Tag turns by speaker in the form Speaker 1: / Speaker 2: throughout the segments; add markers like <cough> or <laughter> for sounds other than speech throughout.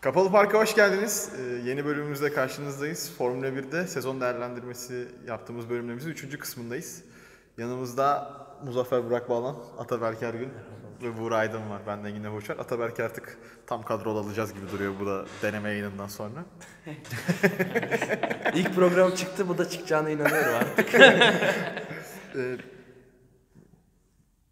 Speaker 1: Kapalı Park'a hoş geldiniz. Ee, yeni bölümümüzde karşınızdayız. Formula 1'de sezon değerlendirmesi yaptığımız bölümlerimizin 3. kısmındayız. Yanımızda Muzaffer Burak Bağlan, Ataberk Ergün ve Buğra Aydın var. Ben de yine Boşver. Ataberk'i artık tam kadrol alacağız gibi duruyor bu da deneme yayınından sonra.
Speaker 2: İlk program çıktı bu da çıkacağına inanıyorum artık.
Speaker 1: Ee,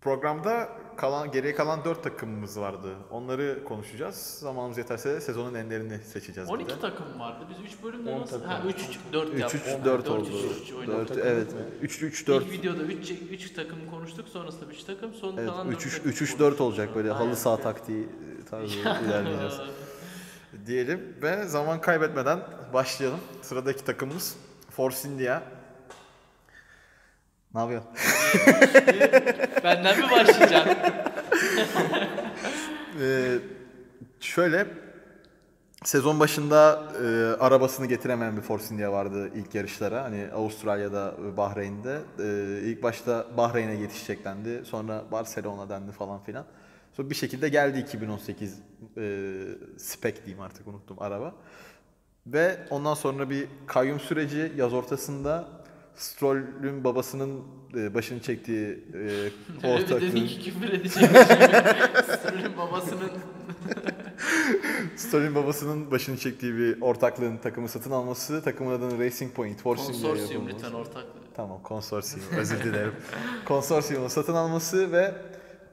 Speaker 1: programda kalan geriye kalan 4 takımımız vardı. Onları konuşacağız. Zamanımız yeterse sezonun enlerini seçeceğiz. bir de.
Speaker 3: 12 takım vardı. Biz 3 bölümde
Speaker 2: 10
Speaker 3: nasıl?
Speaker 2: takım.
Speaker 3: Ha 3 3 4
Speaker 1: 3
Speaker 3: yaptık.
Speaker 1: 3 4 oldu. e, 4
Speaker 3: 3 oynadık.
Speaker 1: evet. 3 3 4
Speaker 3: İlk videoda 3 3 takım konuştuk. Sonrasında 3 takım. Son
Speaker 1: Evet,
Speaker 3: kalan
Speaker 1: 3 3
Speaker 3: takım
Speaker 1: 3 3 4
Speaker 3: konuştuk.
Speaker 1: olacak böyle halı
Speaker 3: Aynen.
Speaker 1: saha taktiği tarzı ilerleyeceğiz diyelim ve zaman kaybetmeden başlayalım. Sıradaki takımımız Force India. Ne yapıyor?
Speaker 3: Benden mi
Speaker 1: <laughs>
Speaker 3: başlayacaksın?
Speaker 1: Ee, şöyle sezon başında e, arabasını getiremeyen bir Force India vardı ilk yarışlara. Hani Avustralya'da ve Bahreyn'de. Ee, ilk başta Bahreyn'e yetişecek dendi. Sonra Barcelona dendi falan filan. Sonra bir şekilde geldi 2018 e, spec diyeyim artık unuttum araba. Ve ondan sonra bir kayyum süreci yaz ortasında Stroll'ün babasının e, başını çektiği e,
Speaker 3: Öyle bir
Speaker 1: ortaklığın-
Speaker 3: dedin ki
Speaker 1: <laughs>
Speaker 3: küfür edecek. Sırrın babasının
Speaker 1: Stalin babasının başını çektiği bir ortaklığın takımı satın alması, takımın adını Racing Point, Force India
Speaker 3: konsorsiyum
Speaker 1: yapılması.
Speaker 3: lütfen ortaklığı.
Speaker 1: Tamam, konsorsiyum. Özür
Speaker 3: <laughs>
Speaker 1: dilerim. Konsorsiyumun satın alması ve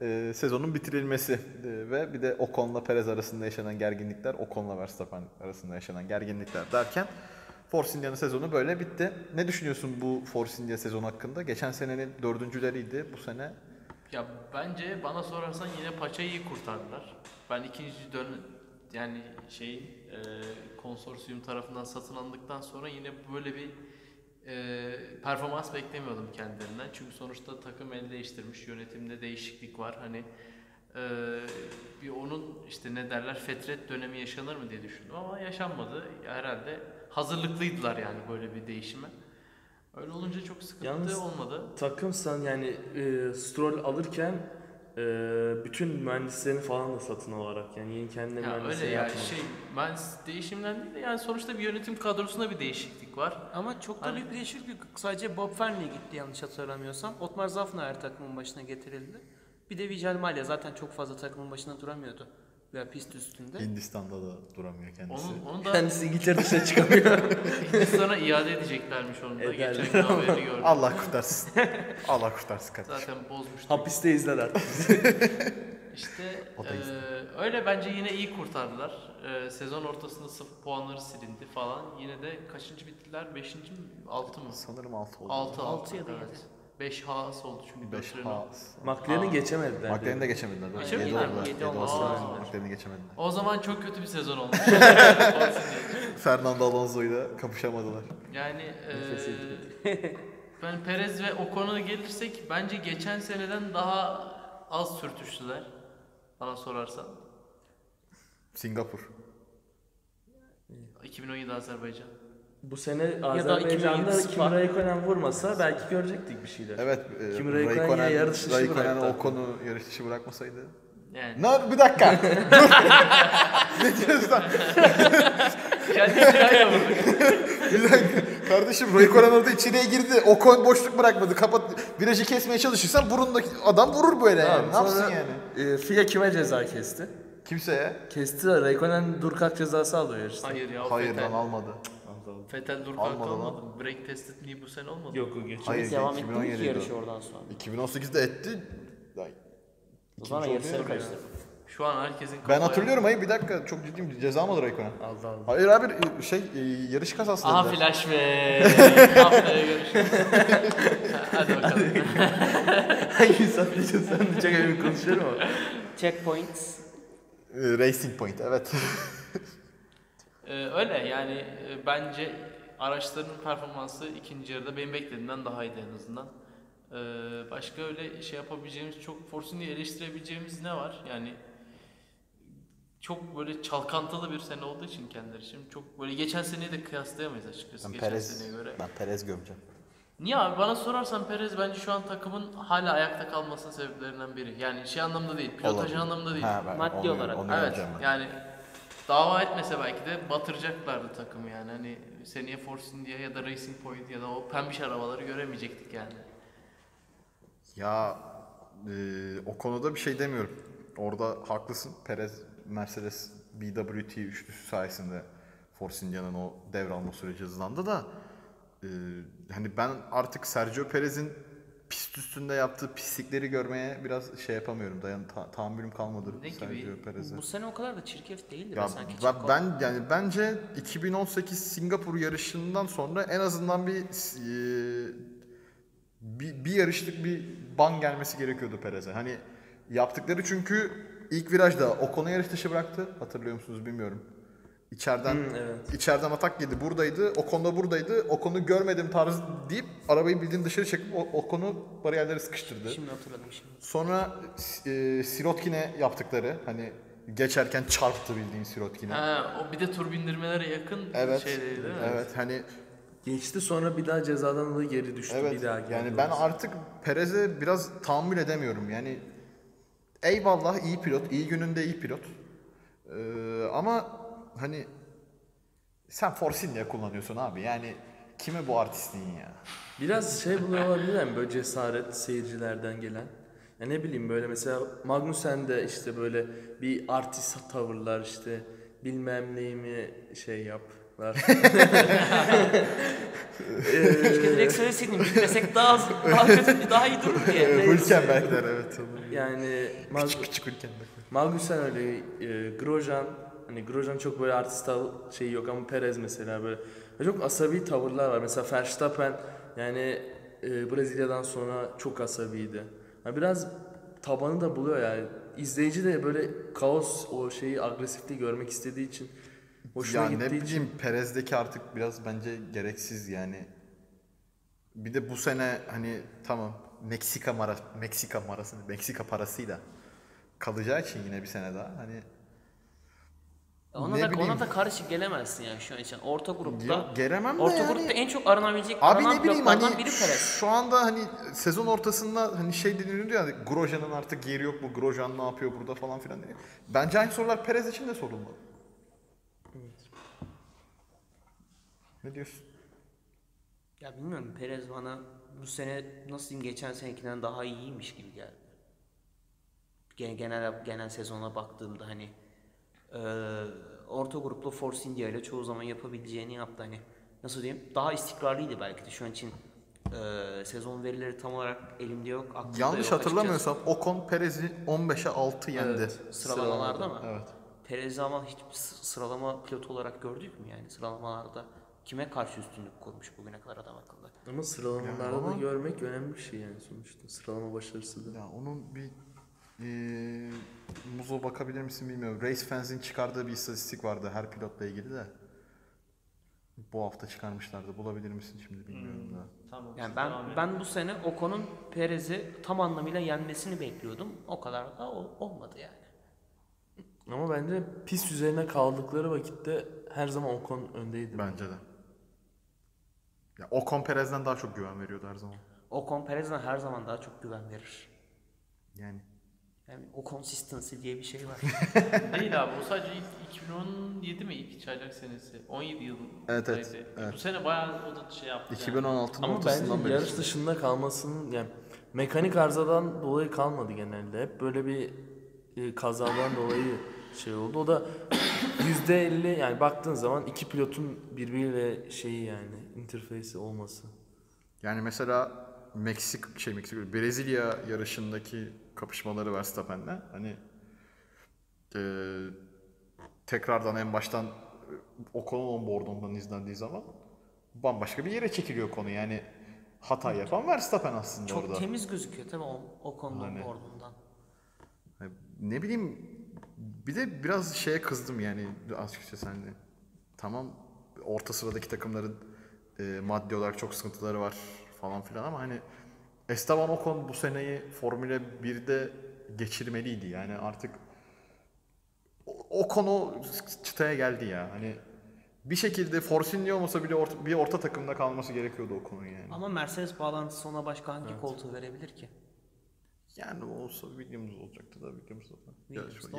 Speaker 1: e, sezonun bitirilmesi E, ve bir de Ocon'la Perez arasında yaşanan gerginlikler, Ocon'la Verstappen arasında yaşanan gerginlikler derken Force India'nın sezonu böyle bitti. Ne düşünüyorsun bu Force India sezonu hakkında? Geçen senenin dördüncüleriydi. Bu sene
Speaker 3: Ya bence bana sorarsan yine paçayı iyi kurtardılar. Ben ikinci dön yani şey e, konsorsiyum tarafından satın alındıktan sonra yine böyle bir e, performans beklemiyordum kendilerinden. Çünkü sonuçta takım el değiştirmiş, yönetimde değişiklik var. Hani e, bir onun işte ne derler fetret dönemi yaşanır mı diye düşündüm ama yaşanmadı. Herhalde hazırlıklıydılar yani böyle bir değişime. Öyle olunca çok sıkıntı
Speaker 2: Yalnız-
Speaker 3: olmadı.
Speaker 2: Takımsan yani e, Stroll alırken e, bütün mühendislerini falan da satın alarak yani yeni kendine
Speaker 3: Ya öyle
Speaker 2: mühendisleri
Speaker 3: ya
Speaker 2: yapmak.
Speaker 3: şey ben s- değişimden değil de yani sonuçta bir yönetim kadrosunda bir değişiklik var.
Speaker 4: Ama çok da
Speaker 3: Hani-
Speaker 4: büyük bir değişiklik yok. Sadece Bob Fernley gitti yanlış hatırlamıyorsam. Otmar Zafner takımın başına getirildi. Bir de Vijay Malia zaten çok fazla takımın başına duramıyordu. Veya pist üstünde.
Speaker 1: Hindistan'da da duramıyor kendisi.
Speaker 3: Onun, onu da
Speaker 2: Kendisi İngiltere dışına çıkamıyor.
Speaker 3: sana iade edeceklermiş onu da
Speaker 2: Ederler.
Speaker 3: geçen gün haberi gördüm.
Speaker 1: Allah
Speaker 3: <laughs>
Speaker 1: kurtarsın. Allah kurtarsın kardeşim.
Speaker 3: Zaten
Speaker 2: <laughs>
Speaker 3: bozmuştu.
Speaker 2: Hapiste izler artık.
Speaker 3: İşte
Speaker 1: O da
Speaker 3: eee,
Speaker 1: izin.
Speaker 3: öyle bence yine iyi kurtardılar. Eee, sezon ortasında sıfır puanları silindi falan. Yine de kaçıncı bittiler? Beşinci mi? Altı mı?
Speaker 1: Sanırım 6 oldu.
Speaker 3: Altı.
Speaker 4: Altı ya da
Speaker 3: evet.
Speaker 4: yedi.
Speaker 3: Beş has oldu çünkü.
Speaker 1: 5
Speaker 3: 5
Speaker 1: has.
Speaker 2: McLaren'i
Speaker 3: Aa.
Speaker 2: geçemediler.
Speaker 1: McLaren'i de
Speaker 2: diyorum.
Speaker 1: geçemediler. Ben
Speaker 3: Geçemediler
Speaker 1: yedi
Speaker 3: mi?
Speaker 1: oldular.
Speaker 4: Yedi
Speaker 1: Yedi
Speaker 4: oldular.
Speaker 1: olsalar
Speaker 3: Aa.
Speaker 1: McLaren'i geçemediler.
Speaker 3: O zaman çok kötü bir sezon olmuş.
Speaker 1: Fernando Alonso'yla kapışamadılar.
Speaker 3: Yani
Speaker 2: Nefesi
Speaker 3: eee, <laughs> ben Perez ve Ocon'a gelirsek bence geçen seneden daha az sürtüştüler. Bana sorarsan.
Speaker 1: Singapur.
Speaker 3: 2017 Azerbaycan.
Speaker 2: Bu sene
Speaker 4: da 2007
Speaker 2: Azerbaycan'da
Speaker 4: Spa.
Speaker 2: Kimi Raikkonen vurmasa belki görecektik bir şeyler.
Speaker 1: Evet. e,
Speaker 2: Kimi Raikkonen ya yarış dışı
Speaker 1: Raikkonen
Speaker 2: bıraktı.
Speaker 1: o konu yarış dışı bırakmasaydı. <laughs>
Speaker 3: Yani
Speaker 1: Ne? Bir dakika. Dur. ne diyorsun lan?
Speaker 3: kendi silahıyla vurdu.
Speaker 1: Bir dakika. Kardeşim Raikkonen orada içeriye girdi. O kon boşluk bırakmadı. Kapat. Virajı kesmeye çalışırsan burundaki adam vurur böyle yani. Ne
Speaker 2: Tamam,
Speaker 1: yapsın
Speaker 2: sonra,
Speaker 1: yani?
Speaker 2: E, FIA kime ceza kesti?
Speaker 1: Kimseye.
Speaker 2: Kesti de Raikkonen durkak cezası alıyor yarışta.
Speaker 3: Hayır ya.
Speaker 1: Hayır
Speaker 3: Fetel,
Speaker 1: lan almadı.
Speaker 3: Fetel dur
Speaker 1: Almadı
Speaker 3: kalktı
Speaker 1: lan.
Speaker 3: olmadı. mı? Break testi niye bu sene olmadı?
Speaker 2: Yok o geçiyor.
Speaker 1: Hayır.
Speaker 5: devam etti mi
Speaker 1: 2017'de
Speaker 5: ki yarışı
Speaker 1: o.
Speaker 5: oradan sonra?
Speaker 1: 2018'de etti. Lan,
Speaker 5: O zaman
Speaker 1: İkinci
Speaker 5: yarışları
Speaker 1: oluyor ya.
Speaker 5: karıştırdı.
Speaker 3: Şu an herkesin
Speaker 1: Ben
Speaker 3: kafaya-
Speaker 1: hatırlıyorum hayır bir dakika çok ciddiyim ceza mı aldı Raikkonen?
Speaker 2: Aldı aldı.
Speaker 1: Hayır abi e, şey e, yarış kazası
Speaker 3: Aha
Speaker 1: dediler. <laughs>
Speaker 3: flash be. <laughs> Haftaya görüşürüz. <laughs>
Speaker 1: <laughs>
Speaker 3: Hadi bakalım.
Speaker 2: Hangi satacağız sen de çok emin konuşuyorum ama.
Speaker 5: Checkpoints.
Speaker 1: E, Racing Point evet.
Speaker 3: Ee, öyle yani e, bence araçların performansı ikinci yarıda benim beklediğimden daha iyiydi en azından. Ee, başka öyle şey yapabileceğimiz çok Force India'yı eleştirebileceğimiz ne var? Yani çok böyle çalkantılı bir sene olduğu için kendileri için çok böyle geçen seneyi de kıyaslayamayız açıkçası
Speaker 1: Ben
Speaker 3: geçen
Speaker 1: Perez,
Speaker 3: seneye göre.
Speaker 1: ben Perez gömeceğim.
Speaker 3: Niye abi bana sorarsan Perez bence şu an takımın hala ayakta kalmasının sebeplerinden biri. Yani şey anlamda değil, pilotaj
Speaker 1: Olabilir.
Speaker 3: anlamda değil.
Speaker 1: Ha, ben
Speaker 5: Maddi
Speaker 1: onu-
Speaker 5: olarak,
Speaker 1: Onu
Speaker 3: Evet
Speaker 1: gömeceğim ben.
Speaker 3: yani Dava etmese belki de batıracaklardı takımı yani. Hani seneye Force India ya da Racing Point ya da o pembiş arabaları göremeyecektik yani.
Speaker 1: Ya e, o konuda bir şey demiyorum. Orada haklısın. Perez Mercedes BWT üçlüsü sayesinde Force India'nın o devralma süreci hızlandı da e, hani ben artık Sergio Perez'in pist üstünde yaptığı pislikleri görmeye biraz şey yapamıyorum. Dayan ta- tahammülüm kalmadı
Speaker 3: Ne gibi?
Speaker 1: Sergio Perez'e.
Speaker 4: Bu sene o kadar da çirkef değildi
Speaker 1: Ya
Speaker 4: be sanki.
Speaker 1: ben,
Speaker 4: Çiko.
Speaker 1: ben yani bence 2018 Singapur yarışından sonra en azından bir e, bir, bir yarışlık bir ban gelmesi gerekiyordu Perez'e. Hani yaptıkları çünkü ilk virajda Ocon'u yarış dışı bıraktı. Hatırlıyor musunuz bilmiyorum. İçeriden
Speaker 2: evet.
Speaker 1: içeriden atak yedi. Buradaydı. Ocon da buradaydı. Ocon'u görmedim tarzı deyip arabayı bildiğin dışarı çekip O- Ocon'u bariyerlere sıkıştırdı.
Speaker 4: Şimdi hatırladım şimdi.
Speaker 1: Sonra e, Sirotkin'e yaptıkları hani geçerken çarptı bildiğin Sirotkin'e.
Speaker 3: Ha, o bir de tur bindirmelere yakın
Speaker 1: Evet.
Speaker 3: şeydeydi değil mi?
Speaker 1: Evet hani
Speaker 2: Geçti sonra bir daha cezadan dolayı geri düştü.
Speaker 1: evet
Speaker 2: bir daha geldi.
Speaker 1: yani ben artık Perez'e biraz tahammül edemiyorum. Yani eyvallah iyi pilot, iyi gününde iyi pilot. Ee, ama hani sen Force India kullanıyorsun abi. Yani kime bu artistliğin ya?
Speaker 2: Biraz şey buluyor olabilir mi böyle cesaret seyircilerden gelen? Ya ne bileyim böyle mesela Magnussen de işte böyle bir artist tavırlar işte bilmem neyimi şey yaplar.
Speaker 4: Keşke direkt söyleseydin. Bitmesek daha
Speaker 1: <laughs>
Speaker 4: az, daha kötü, daha iyi durur diye.
Speaker 1: Hülken Berkler evet.
Speaker 2: yani
Speaker 1: <laughs> Küçük
Speaker 2: Mag-
Speaker 1: küçük Hülken Berkler.
Speaker 2: Magnussen öyle e, Grosjean hani Grosjean çok böyle artist tav- şeyi yok ama Perez mesela böyle Ya çok asabi tavırlar var. Mesela Verstappen yani e, Brezilya'dan sonra çok asabiydi. Ya biraz tabanı da buluyor yani. İzleyici de böyle kaos o şeyi agresifliği görmek istediği için hoşuna
Speaker 1: ya ne
Speaker 2: gittiği için
Speaker 1: bileyim Perez'deki artık biraz bence gereksiz yani. Bir de bu sene hani tamam Meksika mara Meksika marası Meksika parasıyla kalacağı için yine bir sene daha hani
Speaker 4: Ona
Speaker 1: Ne
Speaker 4: da,
Speaker 1: bileyim.
Speaker 4: ona da karışık gelemezsin yani şu an için. Orta grupta.
Speaker 1: ya, gelemem de
Speaker 4: orta
Speaker 1: yani.
Speaker 4: grupta en çok aranabilecek
Speaker 1: Abi
Speaker 4: aranan
Speaker 1: ne bileyim
Speaker 4: bloklardan
Speaker 1: hani
Speaker 4: biri Perez.
Speaker 1: şu anda hani sezon ortasında hani şey deniliyordu ya hani Grosjean'ın artık yeri yok mu? Grosjean ne yapıyor burada falan filan diye. Bence aynı sorular Perez için de sorulmalı. Ne diyorsun?
Speaker 4: Ya bilmiyorum Perez bana bu sene nasıl diyeyim geçen senekinden daha iyiymiş gibi geldi. Gen- Genel genel sezona baktığımda hani eee, orta gruplu Force India ile çoğu zaman yapabileceğini yaptı hani nasıl diyeyim daha istikrarlıydı belki de şu an için eee, sezon verileri tam olarak elimde yok aklımda
Speaker 1: Yanlış
Speaker 4: yok açıkçası.
Speaker 1: hatırlamıyorsam Ocon Perez'i 15'e 6 yendi.
Speaker 4: sıralamalarda mı?
Speaker 1: Evet.
Speaker 4: Perez'i ama hiç s- sıralama pilotu olarak gördük mü yani sıralamalarda kime karşı üstünlük kurmuş bugüne kadar adam akıllı?
Speaker 2: ama
Speaker 1: Yani
Speaker 2: sıralamalarda
Speaker 1: ama-
Speaker 2: da görmek önemli bir şey yani sonuçta sıralama başarısı da.
Speaker 1: Ya onun bir eee muzo bakabilir misin bilmiyorum. Race Fans'in çıkardığı bir istatistik vardı her pilotla ilgili de. Bu hafta çıkarmışlardı. Bulabilir misin şimdi
Speaker 4: Hmm.
Speaker 1: bilmiyorum da.
Speaker 3: Tamam.
Speaker 4: Yani ben ben bu sene Ocon'un Perez'i tam anlamıyla yenmesini bekliyordum. O kadar da ol- olmadı yani.
Speaker 2: Ama bence pist üzerine kaldıkları vakitte her zaman Ocon öndeydi.
Speaker 1: Bence de. Ya Ocon Perez'den daha çok güven veriyordu her zaman.
Speaker 4: Ocon Perez'den her zaman daha çok güven verir.
Speaker 1: Yani.
Speaker 4: Yani o consistency diye bir şey
Speaker 1: <laughs>
Speaker 4: var.
Speaker 3: Değil abi o sadece ilk 2017 mi ilk çaylak senesi? 17 yıl.
Speaker 1: Evet, evet,
Speaker 3: sayısı.
Speaker 1: evet.
Speaker 3: Bu sene bayağı o da şey yaptı. yani.
Speaker 1: 2016'nın
Speaker 2: Ama
Speaker 1: ortasından
Speaker 2: bence
Speaker 1: beri.
Speaker 2: yarış dışında kalmasının yani mekanik arızadan dolayı kalmadı genelde. Hep böyle bir e, kazadan dolayı şey oldu. O da <coughs> %50 yani baktığın zaman iki pilotun birbiriyle şeyi yani interface'i olması.
Speaker 1: Yani mesela Meksik şey Meksik Brezilya yarışındaki kapışmaları Verstappen'le hani eee, tekrardan en baştan e, Ocon'un onboardundan izlendiği zaman bambaşka bir yere çekiliyor konu. Yani hata yapan Verstappen aslında
Speaker 4: çok
Speaker 1: orada.
Speaker 4: temiz gözüküyor tabii o Ocon'un
Speaker 1: Aynen.
Speaker 4: ordundan.
Speaker 1: Yani Ne bileyim bir de biraz şeye kızdım yani açıkçası hani tamam orta sıradaki takımların e, maddi olarak çok sıkıntıları var falan filan ama hani Esteban Ocon bu seneyi Formula 1'de geçirmeliydi yani artık o- Ocon o çıtaya geldi ya hani bir şekilde Force India olmasa bile orta, bir orta takımda kalması gerekiyordu Ocon'un yani.
Speaker 4: Ama Mercedes bağlantısı ona başka hangi koltuğu verebilir ki?
Speaker 1: Yani olsa Williams olacaktı da Williams zaten.
Speaker 4: Williams'la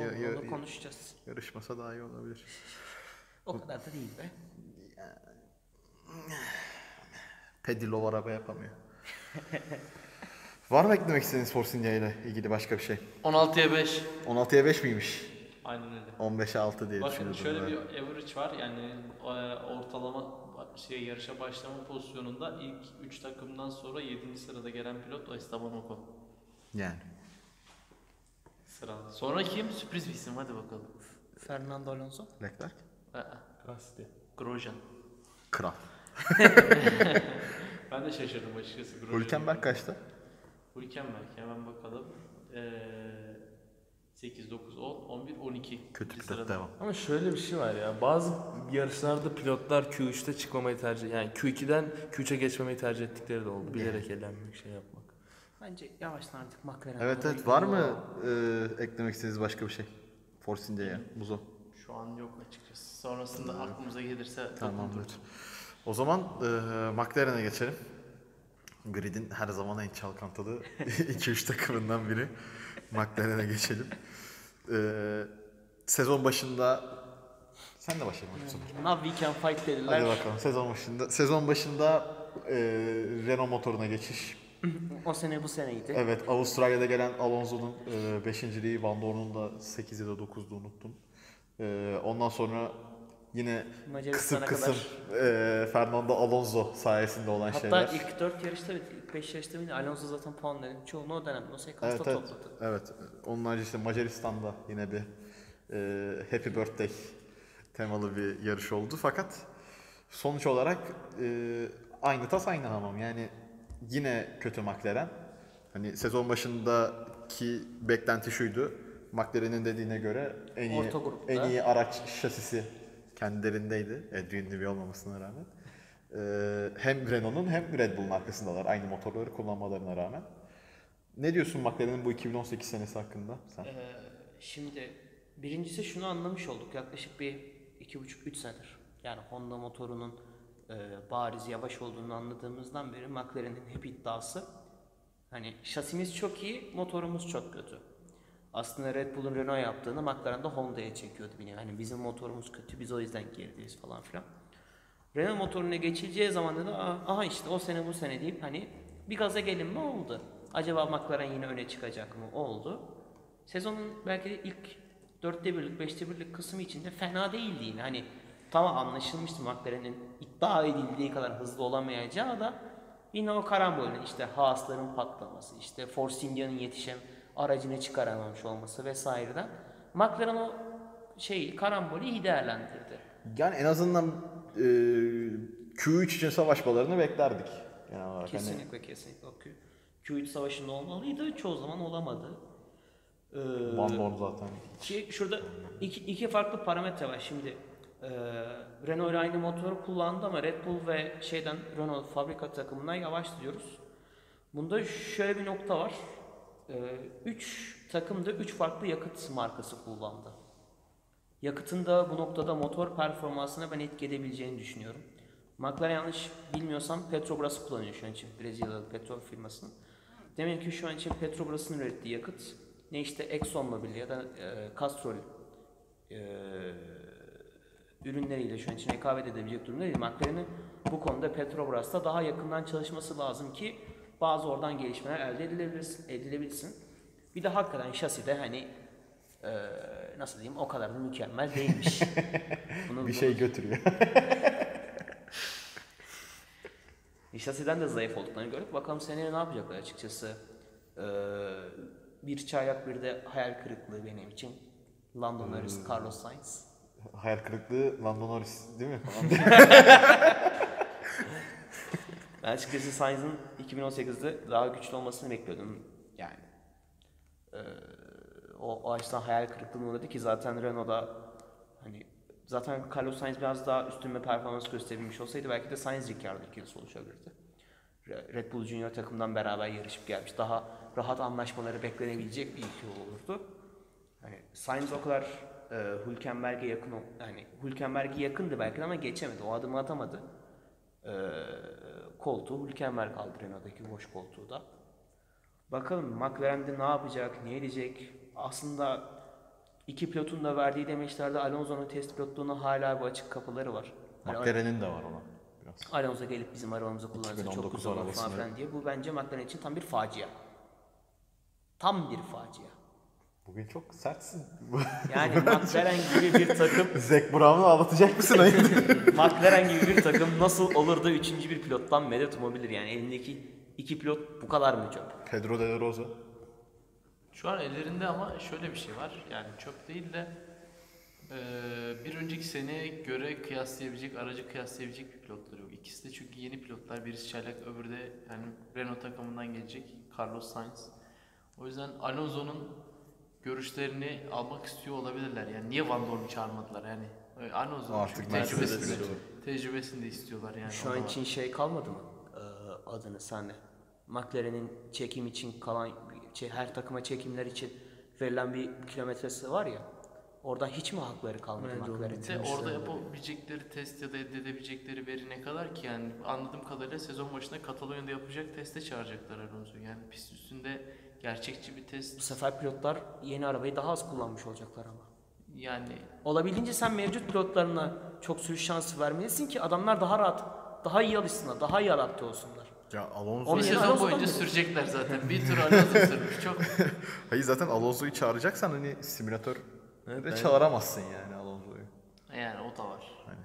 Speaker 1: Yarışma- ya- ya-
Speaker 4: olmadan da
Speaker 1: ya-
Speaker 4: konuşacağız.
Speaker 1: yarışmasa daha iyi olabilir.
Speaker 4: O kadar da değil be.
Speaker 1: Pedilov araba yapamıyor. Var mı eklemek istediğiniz Force India ile ilgili başka bir şey?
Speaker 3: 16'ya 5.
Speaker 1: 16'ya 5 miymiş?
Speaker 3: Aynen öyle.
Speaker 1: 15'e 6 diye
Speaker 3: Bakın
Speaker 1: düşünüyordum.
Speaker 3: şöyle
Speaker 1: ben.
Speaker 3: bir average var. Yani e, ortalama şey yarışa başlama pozisyonunda ilk 3 takımdan sonra 7. sırada gelen pilot Esteban Ocon.
Speaker 1: Yani.
Speaker 3: Sırada. Sonra kim? Sürpriz bir isim. Hadi bakalım.
Speaker 4: Fernando Alonso.
Speaker 1: Leclerc.
Speaker 3: Aa,
Speaker 2: Kasti.
Speaker 3: Grosjean.
Speaker 1: Kral.
Speaker 3: Ben de şaşırdım açıkçası. Grosjean.
Speaker 1: Hülkenberg kaçta?
Speaker 3: Hülkenberg. Hemen bakalım. Ee, 8, 9, 10, 11, 12.
Speaker 1: Kötü
Speaker 3: Bir
Speaker 1: pilot
Speaker 3: sırada.
Speaker 1: devam.
Speaker 2: Ama şöyle bir şey var ya. Bazı yarışlarda pilotlar Q3'te çıkmamayı tercih yani Q2'den Q3'e geçmemeyi tercih ettikleri de oldu. Bilerek elenmek şey yapmak.
Speaker 4: Bence yavaştan artık McLaren.
Speaker 1: Evet evet var mı e, eklemek istediğiniz başka bir şey? Force India'ya, Buzo.
Speaker 3: Şu an yok açıkçası. Sonrasında aklımıza gelirse
Speaker 1: Tamamdır. O zaman e, McLaren'e geçelim. Grid'in her zaman en <laughs> çalkantılı 2-3 takımından biri. McLaren'e geçelim. E, sezon başında sen de başlayalım.
Speaker 4: Now we can fight dediler.
Speaker 1: Hadi bakalım sezon başında sezon başında e, Renault motoruna geçiş.
Speaker 4: O sene bu seneydi.
Speaker 1: Evet Avustralya'da gelen Alonso'nun 5. liği Van Dorn'un da 8 ya da 9'du unuttum. E, ondan sonra yine kısım
Speaker 4: Macaristan'a
Speaker 1: kısım
Speaker 4: kadar.
Speaker 1: e, Fernando Alonso sayesinde olan
Speaker 4: Hatta
Speaker 1: şeyler.
Speaker 4: ilk 4 yarışta mıydı? ilk 5 yarışta mıydı? Alonso zaten puanların çoğunu o dönem o sekansta
Speaker 1: evet, evet,
Speaker 4: topladı.
Speaker 1: evet. Onun haricinde işte Macaristan'da yine bir e, Happy Birthday temalı bir yarış oldu. Fakat sonuç olarak e, aynı tas aynı hamam. Yani yine kötü McLaren. Hani sezon başındaki beklenti şuydu. McLaren'in dediğine göre en iyi,
Speaker 4: Orta grupta.
Speaker 1: en iyi araç şasisi kendilerindeydi. Adrian Newey olmamasına rağmen. E, hem Renault'un hem Red Bull'un arkasındalar. Aynı motorları kullanmalarına rağmen. Ne diyorsun McLaren'in bu 2018 senesi hakkında sen?
Speaker 4: Ee, şimdi birincisi şunu anlamış olduk yaklaşık bir 2,5-3 senedir. Yani Honda motorunun e, bariz yavaş olduğunu anladığımızdan beri McLaren'in hep iddiası hani şasimiz çok iyi, motorumuz çok kötü. Aslında Red Bull'un Renault yaptığını McLaren de Honda'ya çekiyordu bir nevi. Hani bizim motorumuz kötü, biz o yüzden gerideyiz falan filan. Renault motoruna geçileceği zaman dedi "Aa, aha işte o sene bu sene deyip hani bir gaza gelinme oldu. Acaba McLaren yine öne çıkacak mı? Oldu. Sezonun belki de ilk dörtte birlik, beşte birlik kısmı içinde fena değildi yine. Hani tamam anlaşılmıştı McLaren'in iddia edildiği kadar hızlı olamayacağı da yine o karambolün işte Haas'ların patlaması, işte Force India'nın yetişem aracını çıkaramamış olması vesaireden McLaren o şeyi karambolü iyi değerlendirdi.
Speaker 1: Yani en azından e, Q3 için savaşmalarını beklerdik. Genel olarak. Hani
Speaker 4: Kesinlikle kesinlikle. O Q- Q3 savaşında olmalıydı. Çoğu zaman olamadı. Ee,
Speaker 1: Van Dorn zaten.
Speaker 4: ki Şey, şurada iki, iki farklı parametre var. Şimdi e, Renault ile aynı motoru kullandı ama Red Bull ve şeyden Renault fabrika takımından yavaş diyoruz. Bunda şöyle bir nokta var. 3 takım da 3 farklı yakıt markası kullandı. Yakıtın da bu noktada motor performansına ben etki edebileceğini düşünüyorum. McLaren yanlış bilmiyorsam Petrobras'ı kullanıyor şu an için Brezilyalı petrol firmasının. Demek ki şu an için Petrobras'ın ürettiği yakıt ne işte Exxon Mobil ya da e, Castrol e, ürünleriyle şu an için rekabet edebilecek durumda değil. McLaren'in bu konuda Petrobras'ta daha yakından çalışması lazım ki bazı oradan gelişmeler elde edilebilirsin. edilebilsin. Bir de hakikaten şasi de hani e, nasıl diyeyim o kadar da
Speaker 1: <laughs>
Speaker 4: mükemmel değilmiş. Bunun,
Speaker 1: Bir şey götürüyor. <laughs>
Speaker 4: Şasiden de zayıf olduklarını gördük. Bakalım seneye ne yapacaklar açıkçası. Ee, bir çaylak bir de hayal kırıklığı benim için. Lando Norris, Carlos Sainz.
Speaker 1: Hayal kırıklığı Lando Norris değil mi?
Speaker 4: Ben açıkçası Sainz'ın 2018'de daha güçlü olmasını bekliyordum. Yani ee, o, o açıdan hayal kırıklığına uğradı ki zaten Renault'da hani zaten Carlos Sainz biraz daha üstün bir performans gösterilmiş olsaydı belki de Sainz Ricciardo ikilisi oluşabilirdi. Re- Red Bull Junior takımdan beraber yarışıp gelmiş. Daha rahat anlaşmaları beklenebilecek bir ikili olurdu. Hani Sainz o kadar e, Hülkenberg'e yakın ol- hani Hülkenberg'e yakındı belki de ama geçemedi. O adımı atamadı. E, Ee, koltuğu Hülkenberg aldı Renault'daki boş koltuğu da. Bakalım McLaren'de ne yapacak, ne edecek? Aslında iki pilotun da verdiği demeçlerde Alonso'nun test pilotluğuna hala bir açık kapıları var.
Speaker 1: <laughs>
Speaker 4: Hani
Speaker 1: McLaren'in de var ona. Biraz.
Speaker 4: Alonso gelip bizim arabamızı kullansa çok
Speaker 1: 2019
Speaker 4: güzel olur falan
Speaker 1: arabasını.
Speaker 4: filan diye. Bu bence McLaren için tam bir facia. Tam bir facia.
Speaker 1: Bugün çok sertsin.
Speaker 4: Yani McLaren gibi bir takım
Speaker 1: Zac Brown'u ağlatacak <laughs> mısın hayırdır?
Speaker 4: McLaren gibi bir takım nasıl olur da üçüncü bir pilottan medet umabilir yani elindeki iki pilot bu kadar mı çok?
Speaker 1: Pedro de la Rosa.
Speaker 3: Şu an ellerinde ama şöyle bir şey var. Yani çöp değil de eee, bir önceki seneye göre kıyaslayabilecek, aracı kıyaslayabilecek bir pilotları yok. İkisi de çünkü yeni pilotlar. Birisi çaylak, öbürü de yani Renault takımından gelecek Carlos Sainz. O yüzden Alonso'nun görüşlerini almak istiyor olabilirler. Yani niye Van Dorn'u çağırmadılar yani? e, Alonso'nun
Speaker 1: Artık
Speaker 3: çünkü
Speaker 1: Mercedes'e
Speaker 3: tecrübesini,
Speaker 1: de
Speaker 3: tecrübesini de istiyorlar yani.
Speaker 4: Şu an
Speaker 3: Ondan-
Speaker 4: için şey kalmadı mı? Ee, adını sahne. McLaren'in çekim için kalan şey, her takıma çekimler için verilen bir kilometresi var ya. Oradan hiç mi hakları kalmadı
Speaker 2: Bence
Speaker 4: McLaren'in?
Speaker 3: Te- orada yapabilecekleri test ya da elde edebilecekleri veri ne kadar ki yani anladığım kadarıyla sezon başında Katalonya'da yapacak teste çağıracaklar Alonso'yu. Yani pist üstünde gerçekçi bir
Speaker 4: Bu
Speaker 3: test
Speaker 4: sefer pilotlar yeni arabayı daha az kullanmış olacaklar ama.
Speaker 3: yani
Speaker 4: Olabildiğince sen mevcut pilotlarına çok sürüş şansı vermelisin ki adamlar daha rahat, daha iyi alışsınlar, daha iyi adapte olsunlar.
Speaker 1: Ya Alonso.
Speaker 4: Onu
Speaker 3: bir
Speaker 4: yeni
Speaker 3: sezon
Speaker 4: Alonso'dan
Speaker 3: boyunca
Speaker 4: mı?
Speaker 3: sürecekler zaten. Bir tur Alonso sürmüş. Çok
Speaker 1: Hayır zaten Alonso'yu çağıracaksan hani simülatör
Speaker 2: Evet,
Speaker 1: de
Speaker 2: ben-
Speaker 1: çağıramazsın yani Alonso'yu.
Speaker 3: yani o da var.
Speaker 1: Hani